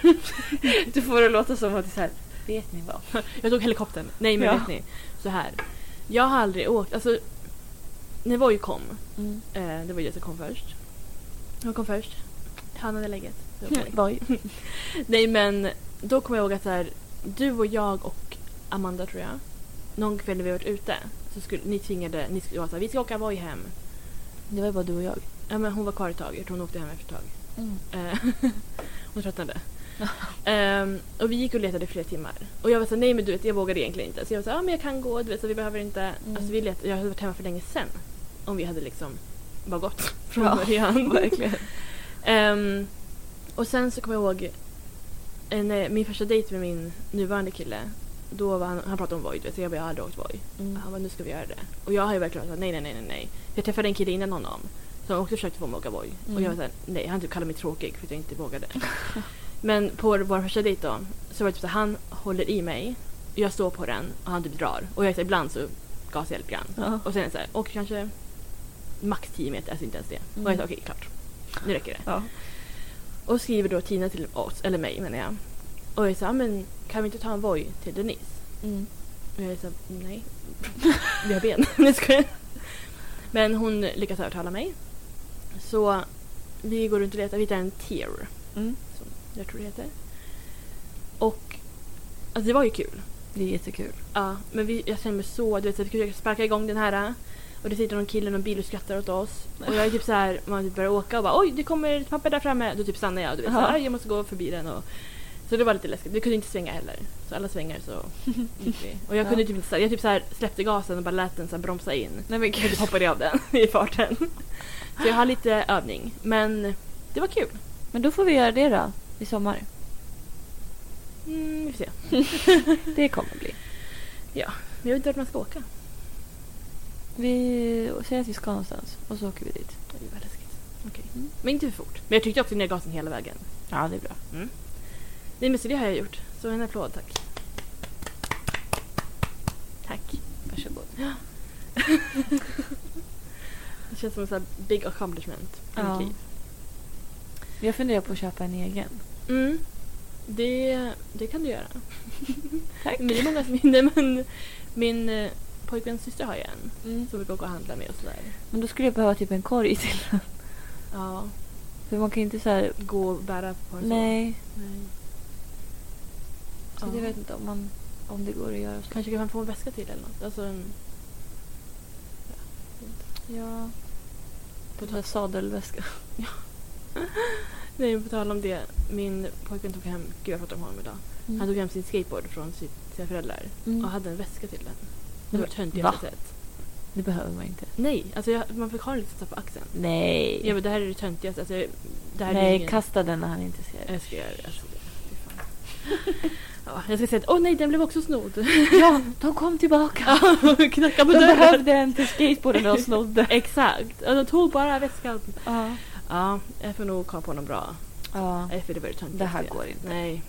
Du får det låta som att det är så här, vet ni vad?
Jag tog helikoptern. Nej, men
Ja.
vet ni. Så här. Jag har aldrig åkt... Alltså, när Voi kom,
Mm.
eh, det var jag som kom först. Hon kom först. Han hade läget. Det var Voi.
Voi.
Nej men då kommer jag ihåg att så här, du och jag och Amanda tror jag, någon kväll när vi varit ute, så skulle, ni tvingade, ni skulle vara så här, vi ska åka Voi hem.
Det var ju bara du och jag.
Ja, men hon var kvar ett tag, jag tror hon åkte hem efter ett tag. Eh, hon tröttnade. Ehm, och vi gick och letade i flera timmar. Och jag var så här, nej men du vet jag vågade egentligen inte. Så jag var så här, ja men jag kan gå, du vet så vi behöver inte.
Mm.
Alltså vi letade, jag hade varit hemma för länge sen. Om vi hade liksom bara gått från
Ja,
början.
verkligen.
Ehm, och sen så kommer jag ihåg eh, när min första dejt med min nuvarande kille. Då var han, han pratade om Voi, du vet, så jag bara jag har aldrig åkt Voi.
Mm.
Han bara nu ska vi göra det. Och jag har ju verkligen sagt nej, nej, nej, nej, nej. Jag träffade en kille innan honom som också försökte få mig att åka Voi.
Mm.
Och jag var såhär, nej, han typ kallade mig tråkig för att jag inte vågade. Men på vår första dejt då så var det typ såhär, han håller i mig, jag står på den och han typ drar. Och jag är så här, ibland så gasar jag lite grann.
Ja.
Och sen är det såhär, åker kanske max 10 meter, alltså inte ens det.
Mm.
Och jag sa okej, klart. Nu räcker det.
Ja.
Och skriver då Tina till oss, eller mig menar jag. Och jag sa, "Ah, men kan vi inte ta en Voi till Denise?
Mm.
Och jag sa, nej. Vi har ben. Nu ska jag. Men hon lyckas övertala mig. Så vi går runt och letar, vi hittar en tear.
Mm.
Som jag tror det heter. Och alltså det var ju kul.
Det är jättekul.
Ja, men vi, jag känner mig så... Du vet, så att vi försöker sparka igång den här. Och det sitter någon kille i någon bil och skrattar åt oss. Och jag är typ så här, man typ börjar åka och bara oj, det kommer ett papper där framme. Då typ stannar jag. Du vet, så
Ja.
här, jag måste gå förbi den. Och, så det var lite läskigt. Vi kunde inte svänga heller. Så alla svängar så gick vi. Och jag kunde
Ja.
typ inte... så här- Jag typ så här släppte gasen och bara lät den så här bromsa in.
Nej men
Och typ hoppade av den i farten. Så jag har lite övning. Men det var kul.
Men då får vi göra det då i sommar.
Mm, vi får se.
Det kommer bli.
Men jag vet inte vart man ska åka.
Vi säger att vi ska någonstans och så åker vi dit.
Det var läskigt. Okej.
Mm.
Men inte för fort. Men jag tryckte också ner gasen hela vägen.
Ja, det är bra.
Nej men så det har jag gjort. Så en applåd tack. Tack.
Varsågod.
Det känns som en sån här big accomplishment i
Ja.
mitt liv.
Jag funderar på att köpa en egen.
Mm. Det, det kan du göra.
Tack.
Men det är många som hinner men min eh, pojkväns syster har ju en
Mm.
som vi brukar gå och handla med och sådär.
Men då skulle jag behöva typ en korg till.
Ja,
För man kan ju inte så här...
gå och bära på en
Nej.
så. Nej.
Så
Ja.
jag vet inte om, man, om det går att göra så.
Kanske kan man få en väska till eller något. Alltså en
Ja. På en sadelväska.
Nej, på tal om det. Min pojkvän tog hem, gud jag pratade om honom idag.
Mm.
Han tog hem sin skateboard från sitt, sina föräldrar
Mm.
och hade en väska till den. Det var
Va?
töntigaste sett.
Det behöver man inte.
Nej, alltså jag, man fick ha den lite så här på axeln.
Nej.
Ja men det här är det töntigaste. Alltså, jag- det här är
Nej,
ingen...
kasta den när han inte ser.
Jag ska göra alltså, det. Fy fan. ja, jag ska säga att åh nej den blev också snodd.
Ja, de kom tillbaka.
Knacka på
De
dörren.
behövde en till skateboarden och snodde.
Exakt. Ja, de tog bara väskan.
Ja.
Ja, jag får nog kapa honom bra.
ja.
Nej för det var det töntigaste.
Det här
jag-
går inte.
Nej.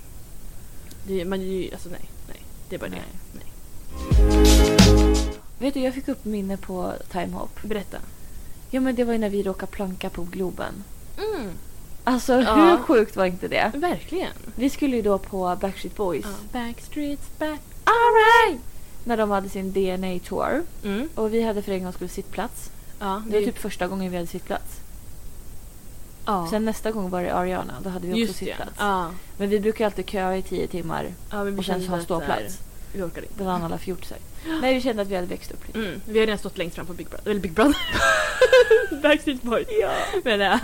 Det, man är ju, alltså nej, nej. Det är bara
Nej.
det. Nej.
Vet du, jag fick upp minne på timehop.
Berätta.
Ja, men det var ju när vi råkade planka på Globen.
Mm,
Alltså,
Ja.
hur sjukt var inte det?
verkligen.
Vi skulle ju då på Backstreet Boys.
Backstreets back.
Alright! När de hade sin DNA tour.
Mm.
Och vi hade för en gångs skull sittplats.
Ja,
Det var typ första gången vi hade sittplats.
ja.
Sen nästa gång var det Ariana. Då hade vi också
Just det.
sittplats.
Ja.
Men vi brukar ju alltid köa i tio timmar
ja men vi
och sen
kände
så ha
att så här,
ståplats.
Vi orkar inte.
Bland alla fjortisar. Nej, vi kände att vi hade växt upp lite.
Mm. Vi har redan stått längst fram på Big Brother. Eller Big Brother. Backstreet Boys.
Ja,
Men, ja,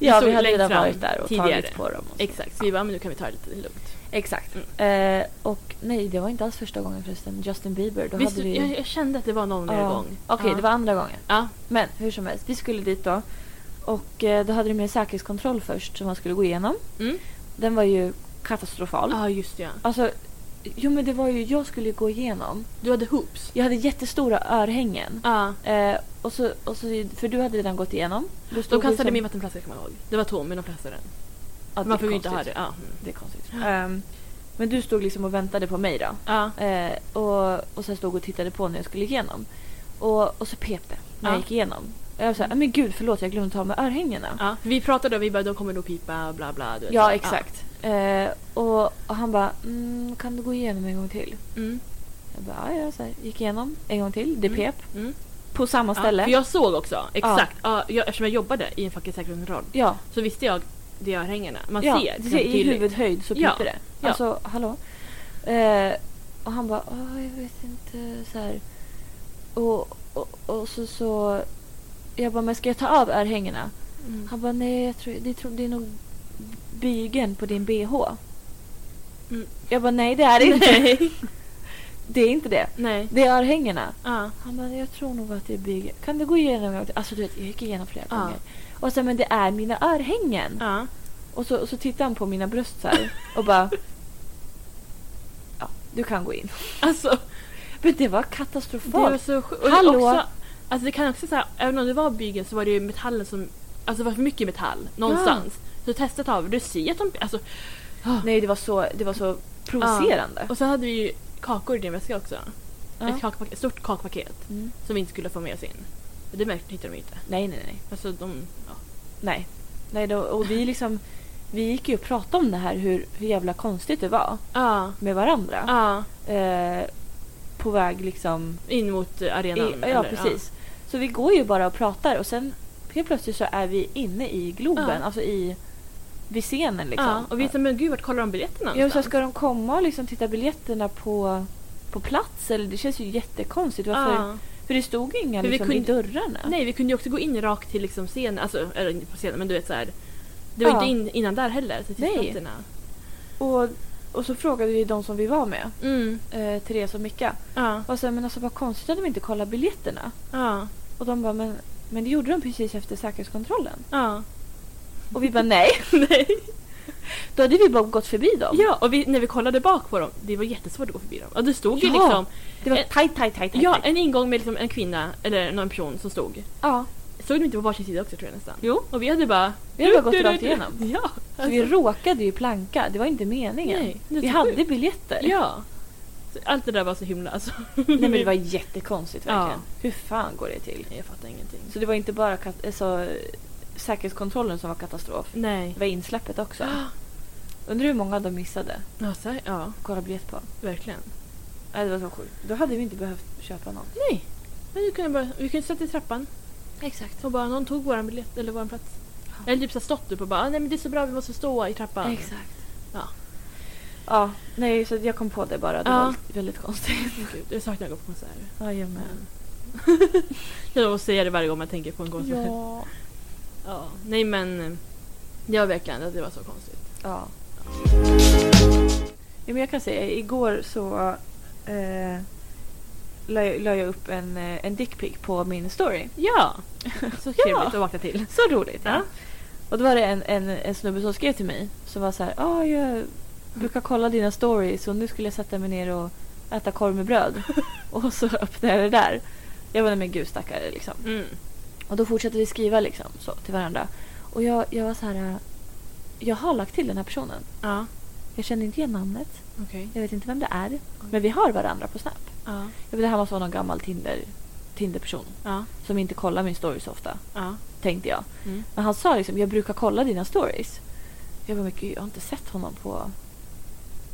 ja
stod
vi hade
längst
redan
fram
varit där och
tidigare.
tagit på dem. Och så.
Exakt, så vi bara, men nu kan vi ta det lite lugnt.
Exakt.
Mm.
Eh, och nej, det var inte alls första gången förresten. Justin Bieber, då
Visst,
hade vi...
jag, jag kände att det var någon mer
Ja.
gång.
Okej,
ja.
det var andra gången.
Ja.
Men hur som helst, vi skulle dit då. Och eh, då hade de med säkerhetskontroll först som man skulle gå igenom.
Mm.
Den var ju katastrofal.
Ja, just det, ja.
Alltså, jo men det var ju, jag skulle ju gå igenom.
Du hade hoops.
Jag hade jättestora örhängen.
Ja.
Eh, och så, och så, för du hade redan gått igenom. Du stod
De
ju
kastade
som-
min vattenflaska kan man ihåg. Det var tom men de kastade den.
Ja, det
man
är
får ju inte ha
konstigt. Mm.
det. Ja.
Det är konstigt. Ehm, men du stod liksom och väntade på mig då.
ja.
Eh, och, och sen stod och tittade på när jag skulle igenom. Och, och så pep det när jag
Ja.
gick igenom. Och jag sa, men gud förlåt jag glömde ta med örhängena.
Ja, vi pratade och vi bara de kommer nog pipa bla bla. Du vet, så.
Ja, exakt. Eh, och, och han bara, mm, kan du gå igenom en gång till?
Ja. Mm.
Jag bara, ja, ja", så här, gick igenom en gång till. Det
Mm.
pep.
Mm.
På samma ställe.
Ja,
Ja,
för jag såg också, exakt. Ja. jag, eftersom jag jobbade i en facklig säkerhetskontroll
ja,
så visste jag det örhängena. Man ser.
det ser liksom i
tydligt.
huvudhöjd så
Ja,
piper det.
ja.
Alltså, hallå? Eh, och han bara, "Åh, jag vet inte. Så här. Och, och, och så, så... Jag bara, men ska jag ta av örhängena?
Mm.
Han bara, nej, jag tror, det, tror, det är nog bygeln på din bh.
Mm.
Jag bara, nej det är det inte.
Nej.
Det är inte det.
Nej.
Det är örhängena.
Ja.
Han bara, jag tror nog att det är bygeln. Kan du gå igenom? en gång till?" Alltså du vet, jag gick igenom flera
Ja.
gånger. Och sen, men det är mina örhängen.
Ja.
Och så, och så tittade han på mina bröst så här och bara, ja, du kan gå in.
Alltså,
Men det var
det var
katastrofalt.
så sjukt. Och det
Hallå?
Också, alltså det kan också säga, även om det var bygeln så var det ju metallen som, alltså det var för mycket metall någonstans. Så testet av, du ser att de, alltså.
Nej, det var så, det var så provocerande.
Och så hade vi ju kakor i din väska också.
Ja.
Ett, kakpaket, ett stort kakpaket
Mm.
som vi inte skulle få med oss in. Men det märkte hittade de ju inte.
Nej, nej, nej.
Alltså de, ja.
Nej. nej då, och vi, liksom, vi gick ju och pratade om det här hur, hur jävla konstigt det var
Ja.
med varandra.
ja.
Eh, på väg liksom...
In mot eh,
I,
arenan.
ja, precis. Så vi går ju bara och pratar och sen helt plötsligt så är vi inne i Globen,
Ja.
alltså i... Vid scenen
Ja.
liksom.
Ja, och vi sa men gud vart kollar de biljetterna
Ja, så
någonstans?
ska de komma och liksom titta biljetterna på, på plats? Eller det känns ju jättekonstigt. Varför?
Ja.
För det stod ju inga
För vi
liksom, i
kunde-
dörrarna.
Nej, vi kunde ju också gå in rakt till liksom scenen, alltså, eller inte på scenen, men du vet så här. Det var
Ja.
inte in, innan där heller, till
Nej.
tidsplatserna.
Och, och så frågade vi de som vi var med,
Mm.
eh, Therese och Micka.
Ja.
Och så, men alltså vad konstigt att de inte kollar biljetterna.
Ja.
Och de bara, men, men det gjorde de precis efter säkerhetskontrollen.
Ja.
Och vi bara, nej.
Nej.
Då hade vi bara gått förbi dem.
Ja, och vi, när vi kollade bak på dem, det var jättesvårt att gå förbi dem. Och det stod ju
Ja.
liksom
Det var
Eh,
tajt, tajt, tajt. tajt,
ja,
tajt.
en ingång med liksom en kvinna, eller någon person som stod.
ja.
Såg de inte på varsin sida också tror jag nästan.
Jo.
Och vi hade bara...
Vi hade bara gått rakt igenom.
Ja. Alltså,
Så vi råkade ju planka. Det var inte meningen.
Nej, det är
vi
så
hade
sjukt.
biljetter.
Ja. Så Allt det där var så himla alltså.
Nej, men det var jättekonstigt verkligen.
Ja.
Mm. Hur fan går det till?
Jag fattar ingenting.
Så det var inte bara kat- alltså, säkerhetskontrollen som var katastrof.
Nej.
Det var insläppet också.
Ah.
Undrar hur många de missade
Ja, så här, ja,
att kolla biljett på.
verkligen.
Nej, det var så sjukt. Då hade vi inte behövt köpa något.
Nej. Men du kunde bara, vi kunde sätta i trappan
Exakt.
och bara någon tog våran biljett eller våran plats.
Ja.
Eller typ så här stått upp och bara "Ah, nej men det är så bra vi måste stå i trappan.
Exakt.
Ja.
Ja, nej, så jag kom på det bara. Det
Ja.
var väldigt konstigt.
Gud, jag saknar att gå på konserter.
Ja, jag
Men... jag måste säga det varje gång man tänker på en konsert.
Ja.
Ja, nej men eh, det var verkligen att det var så konstigt.
Ja. ja men jag kan säga, igår så eh, la, jag- la jag upp en, eh, en dickpic på min story.
Ja, så
Ja.
trevligt att vakna till.
Så roligt! Ja.
Ja.
Och då var det en, en, en snubbe som skrev till mig som var så här, ja jag brukar kolla dina stories och nu skulle jag sätta mig ner och äta korv med bröd. och så öppnade jag det där. Jag var men gud stackare liksom.
Mm.
Och då fortsatte vi skriva liksom så till varandra. Och jag, jag var så här, eh, jag har lagt till den här personen.
Ja,
Jag känner inte igen namnet.
okej.
Jag vet inte vem det är. Men vi har varandra på Snap.
Ja,
Jag vet, det här måste vara någon gammal Tinder, Tinder-person
ja,
som inte kollar min story så ofta.
ja.
Tänkte jag.
Mm.
Men han sa liksom, jag brukar kolla dina stories. Jag bara, men gud, jag har inte sett honom på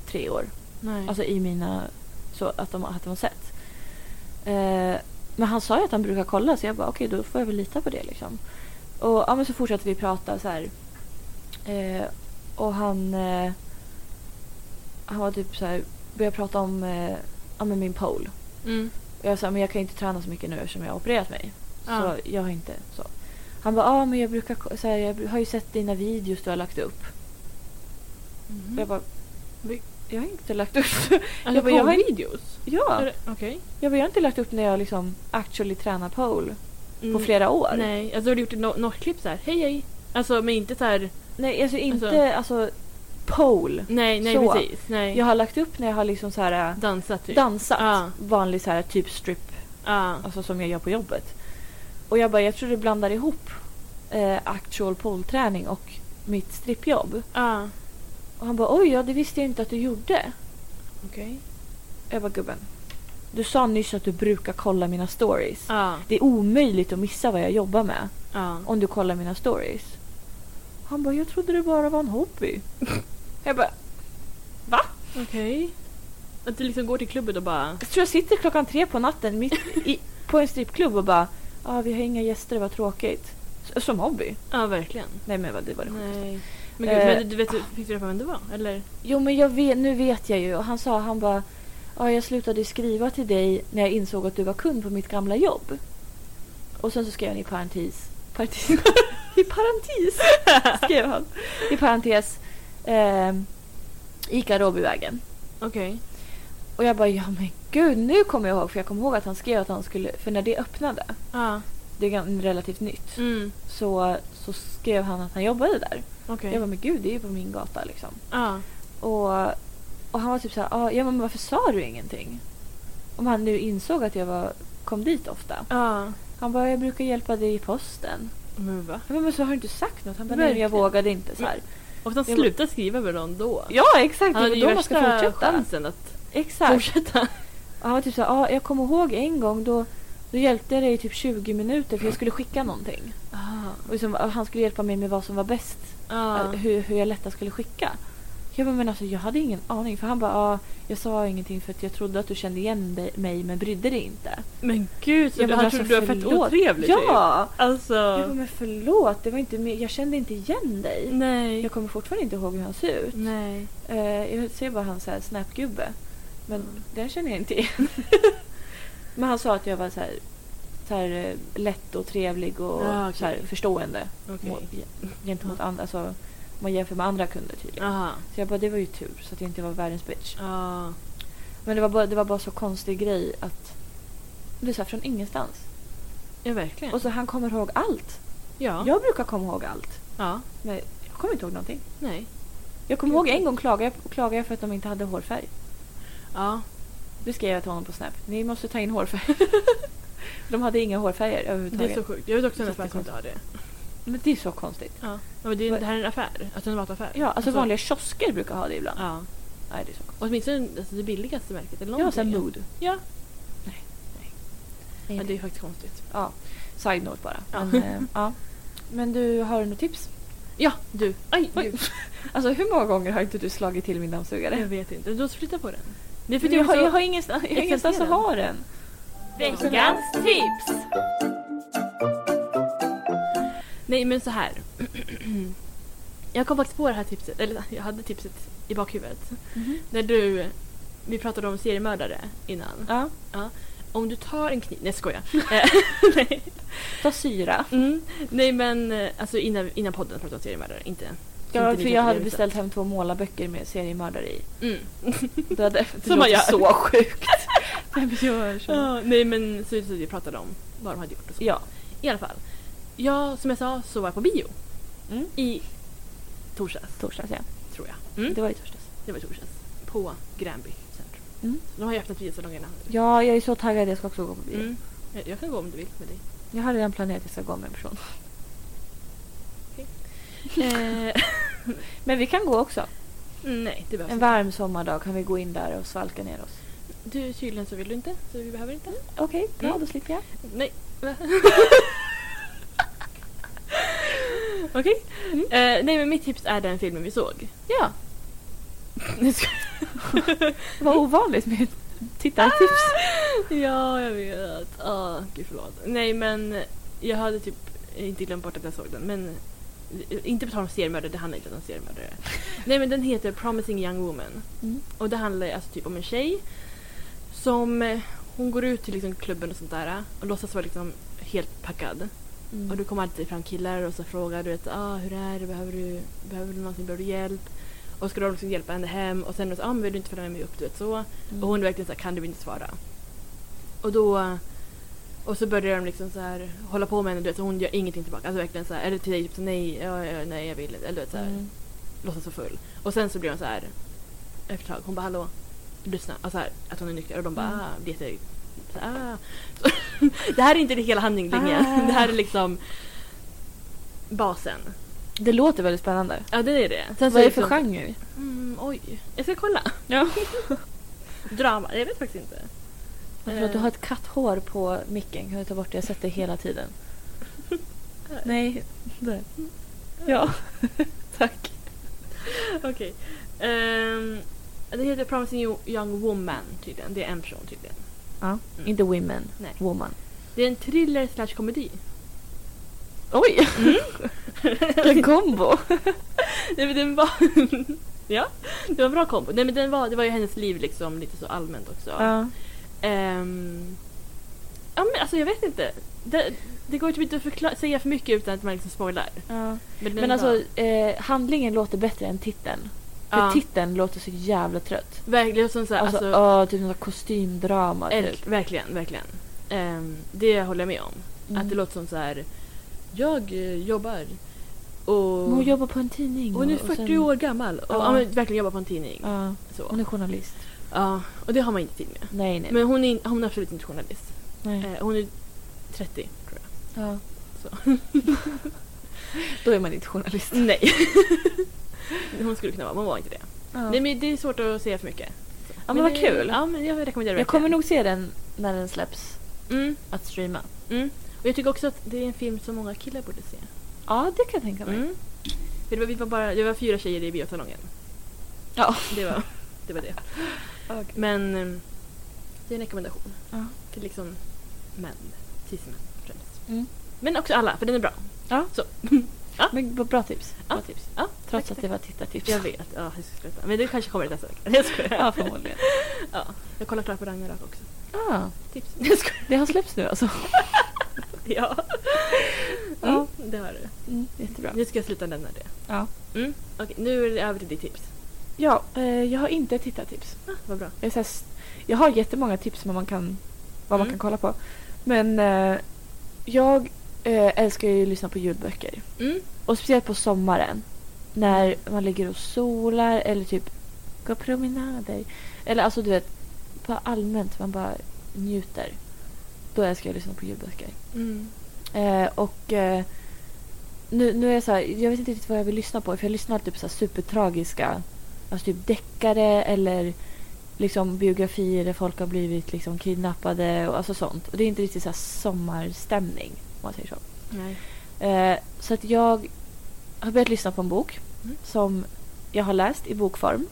tre år.
Nej.
Alltså i mina, så att de, att de har sett. Eh, men han sa ju att han brukar kolla så jag bara okej då får jag väl lita på det liksom. Och ja, men så fortsatte vi prata så här. Eh, och han, eh, han var typ så här, började prata om eh, ja, men min pole.
mm.
Och jag sa men jag kan ju inte träna så mycket nu eftersom jag har opererat mig.
Ja.
Så jag har inte så. Han bara ja men jag brukar ko- så här, jag har ju sett dina videos du har lagt upp.
Mhm.
Och jag bara "Vi- jag har inte lagt upp.
Alltså,
jag
jag
bara, jag har-
videos?
ja.
Är det- Okej.
Jag har ju inte lagt upp när jag liksom actually tränar pole
Mm.
på flera år.
Nej, alltså har du gjort ett no- något klipp så här, hej hej. Alltså men inte så här,
Nej, alltså inte alltså, pole.
nej, nej
Så.
precis. Nej.
Jag har lagt upp när jag har liksom så här äh,
dansat typ.
dansat.
Ja.
Vanlig så här typ strip,
ja.
alltså som jag gör på jobbet. Och jag bara, jag tror du blandar ihop eh, actual pole-träning och mitt strippjobb.
ja.
Och han bara, oj ja det visste jag inte att du gjorde.
Okej.
Jag bara, gubben. Du sa nyss att du brukar kolla mina stories.
Ja.
Det är omöjligt att missa vad jag jobbar med.
Ja.
om du kollar mina stories. Han bara, jag trodde det bara var en hobby. jag bara, va?
Okej. Att du liksom går till klubben och bara,
Jag tror jag sitter klockan tre på natten mitt i, på en strippklubb och bara, ja vi har inga gäster, det var tråkigt. S- Som hobby.
ja verkligen.
Nej men vad- det var det sjukaste.
Nej. Men gud,
Eh,
men du vet, fick du reda på vem det var? Eller?
Jo men jag vet, nu vet jag ju. Och han sa, han bara, ja jag slutade skriva till dig när jag insåg att du var kund på mitt gamla jobb. Och sen så skrev han i parentes, parentes i parentes skrev han. I parentes, eh, Ica Råbyvägen.
Okej.
Och jag bara, ja men gud, nu kommer jag ihåg. För jag kommer ihåg att han skrev att han skulle, för när det öppnade,
Ja.
det är gan- relativt nytt,
Mm.
så, så skrev han att han jobbade där.
Okej.
Jag bara, men gud, det är ju på min gata liksom.
Ja.
Och, och han var typ så här, "Ah, ja men varför sa du ingenting? Om han nu insåg att jag var, kom dit ofta.
Ja.
Han bara, jag brukar hjälpa dig i posten.
Men va?
Jag bara, men så har du inte sagt något? Han bara, nej men jag
Verkligen.
vågade inte. Så här.
Och sen
Jag-
sluta skriva med någon då.
Ja exakt,
Han
det
hade
är
ju
då man ska
värsta
fortsätta.
chansen att
Exakt.
fortsätta.
Och han var typ så här, ah, jag kommer ihåg en gång då Då hjälpte jag dig i typ 20 minuter för jag skulle skicka någonting. Och liksom, och han skulle hjälpa mig med vad som var bäst.
Ja.
eh, Hur, hur jag lättast skulle skicka. Jag bara, men alltså jag hade ingen aning. För han bara, ah, jag sa ingenting för att jag trodde att du kände igen dig- mig men brydde dig inte.
Men gud, så
Jag
du,
bara,
han
alltså,
trodde du var fett
förlåt.
otrevlig typ.
Ja! Jag bara,
Alltså.
men förlåt, det var inte, me- jag kände inte igen dig.
Nej.
Jag kommer fortfarande inte ihåg hur han ser ut.
Nej.
Eh, jag ser bara han så här snapgubbe. Men
Mm.
den känner jag inte igen. men han sa att jag var så här, så här eh, lätt och trevlig och
Ah, okej.
så här, förstående
Okej. Ah.
mot- ge- gentemot andra. Alltså, om man jämför med andra kunder tydligen.
Aha.
Så jag bara, det var ju tur så att jag inte var världens bitch.
Ah. Ja.
Men det var bara, det var bara så konstig grej att... Det är så här från ingenstans.
Ja, Ah. verkligen.
Och så han kommer ihåg allt.
ja.
Jag brukar komma ihåg allt.
ja.
Men jag kommer inte ihåg någonting.
Nej.
Jag kommer ihåg en gång klagade jag, klagade jag för att de inte hade hårfärg.
Ja.
Det skrev jag till honom på Snap. Ni måste ta in hårfärg. de hade inga hårfärger
Det
överhuvudtaget.
är så sjukt. Jag vet också en affär som
Jättekonstigt.
inte har det.
Men det är så konstigt.
Ja. Men det, är, det här är en affär. Alltså en mataffär.
Ja, alltså, vanliga kiosker brukar ha det ibland.
Ja.
Nej, det är så konstigt.
Åtminstone alltså, det billigaste märket. Eller
Jag har såhär
någonting.
mood. Mm.
Ja.
Nej, nej.
ja, det är faktiskt konstigt.
Ja, side note bara.
Ja.
Men, eh, ja. Men du, har du något tips?
Ja, du. Aj,
Oj. Alltså hur många gånger har inte du slagit till min dammsugare?
Jag vet inte. Du har flyttat på den. Det är för
Men
att jag,
jag, har,
är så-
jag har ingenstans, jag har ingenstans att ha den.
Veckans tips! Nej men så här. Jag kom faktiskt på det här tipset, eller jag hade tipset i bakhuvudet.
Mhm.
När du, vi pratade om seriemördare innan.
Ja.
Om du tar en kniv, nej skoja. Eh, nej.
Ta syra.
Mm. nej men eh, alltså innan, innan podden pratade om seriemördare, inte.
Ja,
inte
för
min
jag hade
upplevelse.
beställt hem två målarböcker med seriemördare i.
Mm.
Det, hade, det
Som man
låter
gör.
så sjukt. Nej, men jag känner-
Ja, nej men så, så vi pratade om vad de hade gjort och så.
Ja.
I alla fall. Jag, som jag sa, så var jag på bio
Mm.
i torsdags.
Torsdags ja.
tror jag. Mm.
Det var i torsdags.
Det var i torsdags. På Gränby centrum.
Mm.
Så De har ju öppnat biosalongerna.
Ja, jag är så taggad. Jag ska också gå på bio.
Mm. Jag, jag kan gå om du vill med dig.
Jag har redan planerat att jag ska gå med en person.
eh, mm,
Men vi kan gå också.
nej, det behövs
En
inte.
varm sommardag kan vi gå in där och svalka ner oss.
Du tydligen så vill du inte, så vi behöver inte.
Okej, bra.
Mm.
Då slipper jag.
Nej. Va? Okej.
Mm.
Eh, nej men mitt tips är den filmen vi såg.
Ja. Vad ovanligt med ett tittartips.
Ja, jag vet. Ah, gud förlåt. Nej men jag hade typ inte glömt bort att jag såg den men eh, inte på tal om seriemördare, det handlar inte om seriemördare. Nej men den heter Promising Young Woman.
Mm.
Och det handlar ju alltså typ om en tjej som eh, hon går ut till liksom klubben och sånt där och låtsas vara liksom helt packad.
Mm.
Och då kommer alltid fram killar och så frågar du vet, ah, hur är det, behöver du, behöver du någonting, behöver du hjälp? Och ska de liksom hjälpa henne hem och sen så, ah, men vill du inte följa med mig upp du vet så.
Mm.
Och hon är verkligen så här, kan du inte svara? Och då... Och så börjar de liksom så här hålla på med henne, du vet, så hon gör ingenting tillbaka. Alltså verkligen så här, eller till dig typ så nej, ja, ja, nej jag vill inte. Eller du vet så här,
Mm.
låtsas så full. Och sen så blir hon så här efter ett tag, hon bara hallå, lyssna. Och så här, att hon är nykter och de bara
Mm.
ah, blir jätte... Så, här, ah. så, det här är inte det hela handlingen,
Ah.
det här är liksom basen.
Det låter väldigt spännande.
Ja det är det. Sen så
Vad är det för
liksom-
genre?
Mm, oj, jag ska kolla.
Ja.
Drama, jag vet faktiskt inte.
Förlåt, du har ett katthår på micken. Kan du ta bort det? Jag har sett det hela tiden. Nej. Där. Ja. Tack.
Eh, Okej. Ehm, det heter Promising Young Woman tydligen. Det är en person tydligen.
Ja.
Mm.
Inte women.
Nej.
Woman.
Det är en thriller slash komedi.
Oj! Vilken kombo!
Mm. Nej men den var... ja, det var en bra kombo. Nej men den var, det var ju hennes liv liksom lite så allmänt också.
Ja.
Ehm, ja men alltså jag vet inte. Det, det går typ inte att förkla- säga för mycket utan att man liksom spoilar. den
Men
var-
alltså, eh, handlingen låter bättre än titeln.
Ja.
För titeln låter så jävla trött.
verkligen som så här,
Alltså,
alltså,
åh, typ något kostymdrama.
Eller,
Typ.
verkligen, verkligen. Ehm, det håller jag med om.
Mm.
Att det låter som så här. Jag eh, jobbar och...
Men Hon jobbar på en tidning.
Och hon är
och
40
sen-
år gammal och
Ja.
ja. men verkligen jobbar på en tidning. Ja.
Ja,
Så.
hon är journalist.
Ja, och det har man inte tid med.
Nej, nej.
Men hon är, in- hon är absolut inte journalist.
nej.
Eh, hon är 30 tror jag.
Ja.
Så.
Då är man inte journalist.
Nej. hon skulle kunna vara, men hon var inte det.
Ja.
Nej, men det är svårt att säga för mycket.
ja, men vad
det-
kul.
Ja, men jag rekommenderar det
Jag kommer
verkligen.
nog se den när den släpps.
Mm,
att streama.
mm. Och jag tycker också att det är en film som många killar borde se.
Ja, det kan jag tänka mig.
Mm. För det var, vi var bara, det var fyra tjejer i biosalongen.
Ja.
Det var det. Var det. Men eh, det är en rekommendation.
Ja.
Till liksom män. Cis-män främst.
Mm.
Men också alla, för den är bra.
Ja.
Så.
Men b- bra tips. Bra
Ja.
tips.
Ja,
Trots
tack,
att det var tittartips.
Jag vet, ja, jag ska sluta. Men det kanske kommer nästa vecka. Jag skojar.
Ja, förmodligen.
Ja. Jag kollar klart på Ragnarök också.
Ah,
Tips. Jag skojar.
det har släppts nu alltså.
Ja.
Ja.
ja, det har du.
Mm, jättebra.
Nu ska jag sluta nämna det.
Ja.
Mm. Okej, nu är det över till ditt tips.
Ja, eh, jag har inte ett tittartips.
Ah, vad bra.
Jag, är så här, s- jag har jättemånga tips om vad man kan, vad man
Mm.
kan kolla på. Men eh, jag eh, älskar ju att lyssna på ljudböcker.
Mm.
Och speciellt på sommaren. När man ligger och solar eller typ går promenader. Eller alltså du vet, bara allmänt man bara njuter. Då älskar jag att lyssna på ljudböcker.
Mm.
Eh, och eh, nu, nu är jag så här, jag vet inte riktigt vad jag vill lyssna på. För jag lyssnar alltid på så här supertragiska, alltså typ deckare eller liksom biografier där folk har blivit liksom kidnappade och alltså sånt. Och det är inte riktigt så här sommarstämning om man säger så.
Nej.
Eh, så att jag har börjat lyssna på en bok
Mm.
som jag har läst i bokform.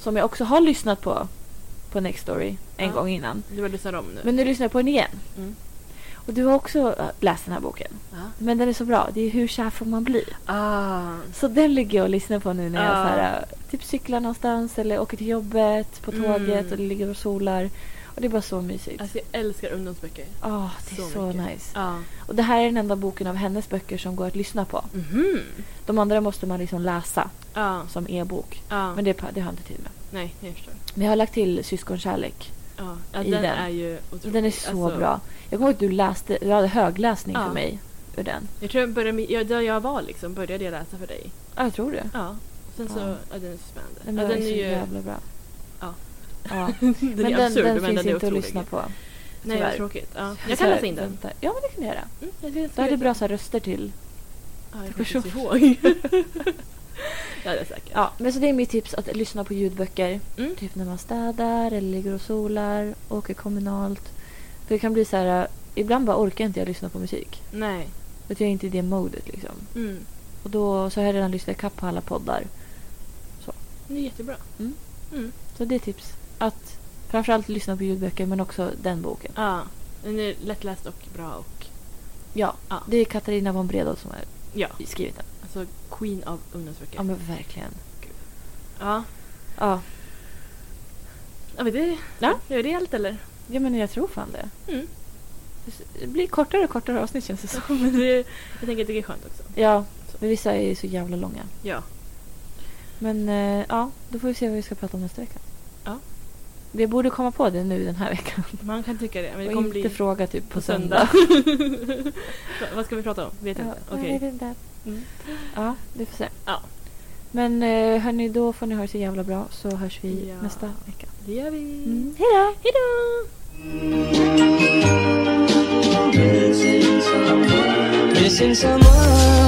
Som jag också har lyssnat på på Next Story en
Ja.
gång innan.
Du bara lyssnar om nu.
Men nu lyssnar jag på den igen.
Mm.
Och du har också eh, läst den här boken.
Ja.
Men den är så bra. Det är hur kär får man bli?
Ah.
Så den ligger jag och lyssnar på nu när jag
Ja.
så här, eh, typ cyklar någonstans eller åker till jobbet på tåget
Mm.
och ligger och solar. Och det är bara så mysigt.
Alltså jag älskar ungdomsböcker.
Ah, det är så,
så mycket.
nice.
Ja.
Och det här är den enda boken av hennes böcker som går att lyssna på.
Mhm.
De andra måste man liksom läsa
Ja.
som e-bok.
Ja.
Men det, pa- det har jag inte tid med.
Nej, jag förstår.
Men jag har lagt till Syskonkärlek.
Ja. Ja,
I
den,
den.
är ju otrolig.
Den är så
Alltså,
bra. Jag kommer ihåg att du läste, du hade högläsning
Ja.
för mig ur den.
Jag tror jag började, med- ja, där jag var liksom, började jag läsa för dig.
Ja, jag tror det.
Ja. Och sen så,
Ja.
ja, den är så spännande.
Den,
ja,
var
den
så
är ju,
jävla bra.
Ja.
Ja.
den
Men
är
den,
absurd,
den
men den
finns
är
inte att
otrolig.
lyssna på.
Nej,
tyvärr.
vad tråkigt. Ja.
Så
Jag kan
här,
läsa in den.
vänta. Ja, men det kan du göra.
Mm, jag tycker jag
Då
ska
är det
läsa
bra
den.
så här, röster till.
Ja, jag kommer
person.
inte ihåg. ja, det är säkert.
Ja, men så det är mitt tips att lyssna på ljudböcker.
Mm.
Typ när man städar eller ligger och solar, åker kommunalt. För det kan bli så här, eh, ibland bara orkar inte jag lyssna på musik.
Nej.
För att jag är inte i det modet liksom.
Mm.
Och då så har jag redan lyssnat ikapp på alla poddar.
Det är jättebra.
Mm.
Mm.
Så det är tips. Att framförallt lyssna på ljudböcker men också den boken.
Ja. Den är lättläst och bra och
Ja,
Ja.
det är Katarina von Bredow som har
ja,
skrivit den.
alltså queen av ungdomsböcker.
Ja men verkligen.
Ja.
Ja.
Ja, men det,
Ja.
det är det allt eller?
ja men jag tror fan det.
Mm.
Det blir kortare och kortare avsnitt känns det som.
Men det, jag tänker att det är skönt också.
Ja, men vissa är ju så jävla långa.
Ja.
Men eh, ja, då får vi se vad vi ska prata om nästa vecka.
Ja.
Vi borde komma på det nu den här veckan.
Man kan tycka det. Men det
Och
kommer
inte
bli
fråga typ på
på
söndag.
söndag. Va- Vad ska vi prata om? Vet
Ja,
inte.
jag
Okej.
vet inte.
Mm.
Ja, vi får se.
Ja.
Men eh, hörni, då får ni ha det så jävla bra så hörs vi
Ja.
nästa vecka.
Det gör vi.
Mm. Hej då!
Hej då!
Missing someone, missing someone.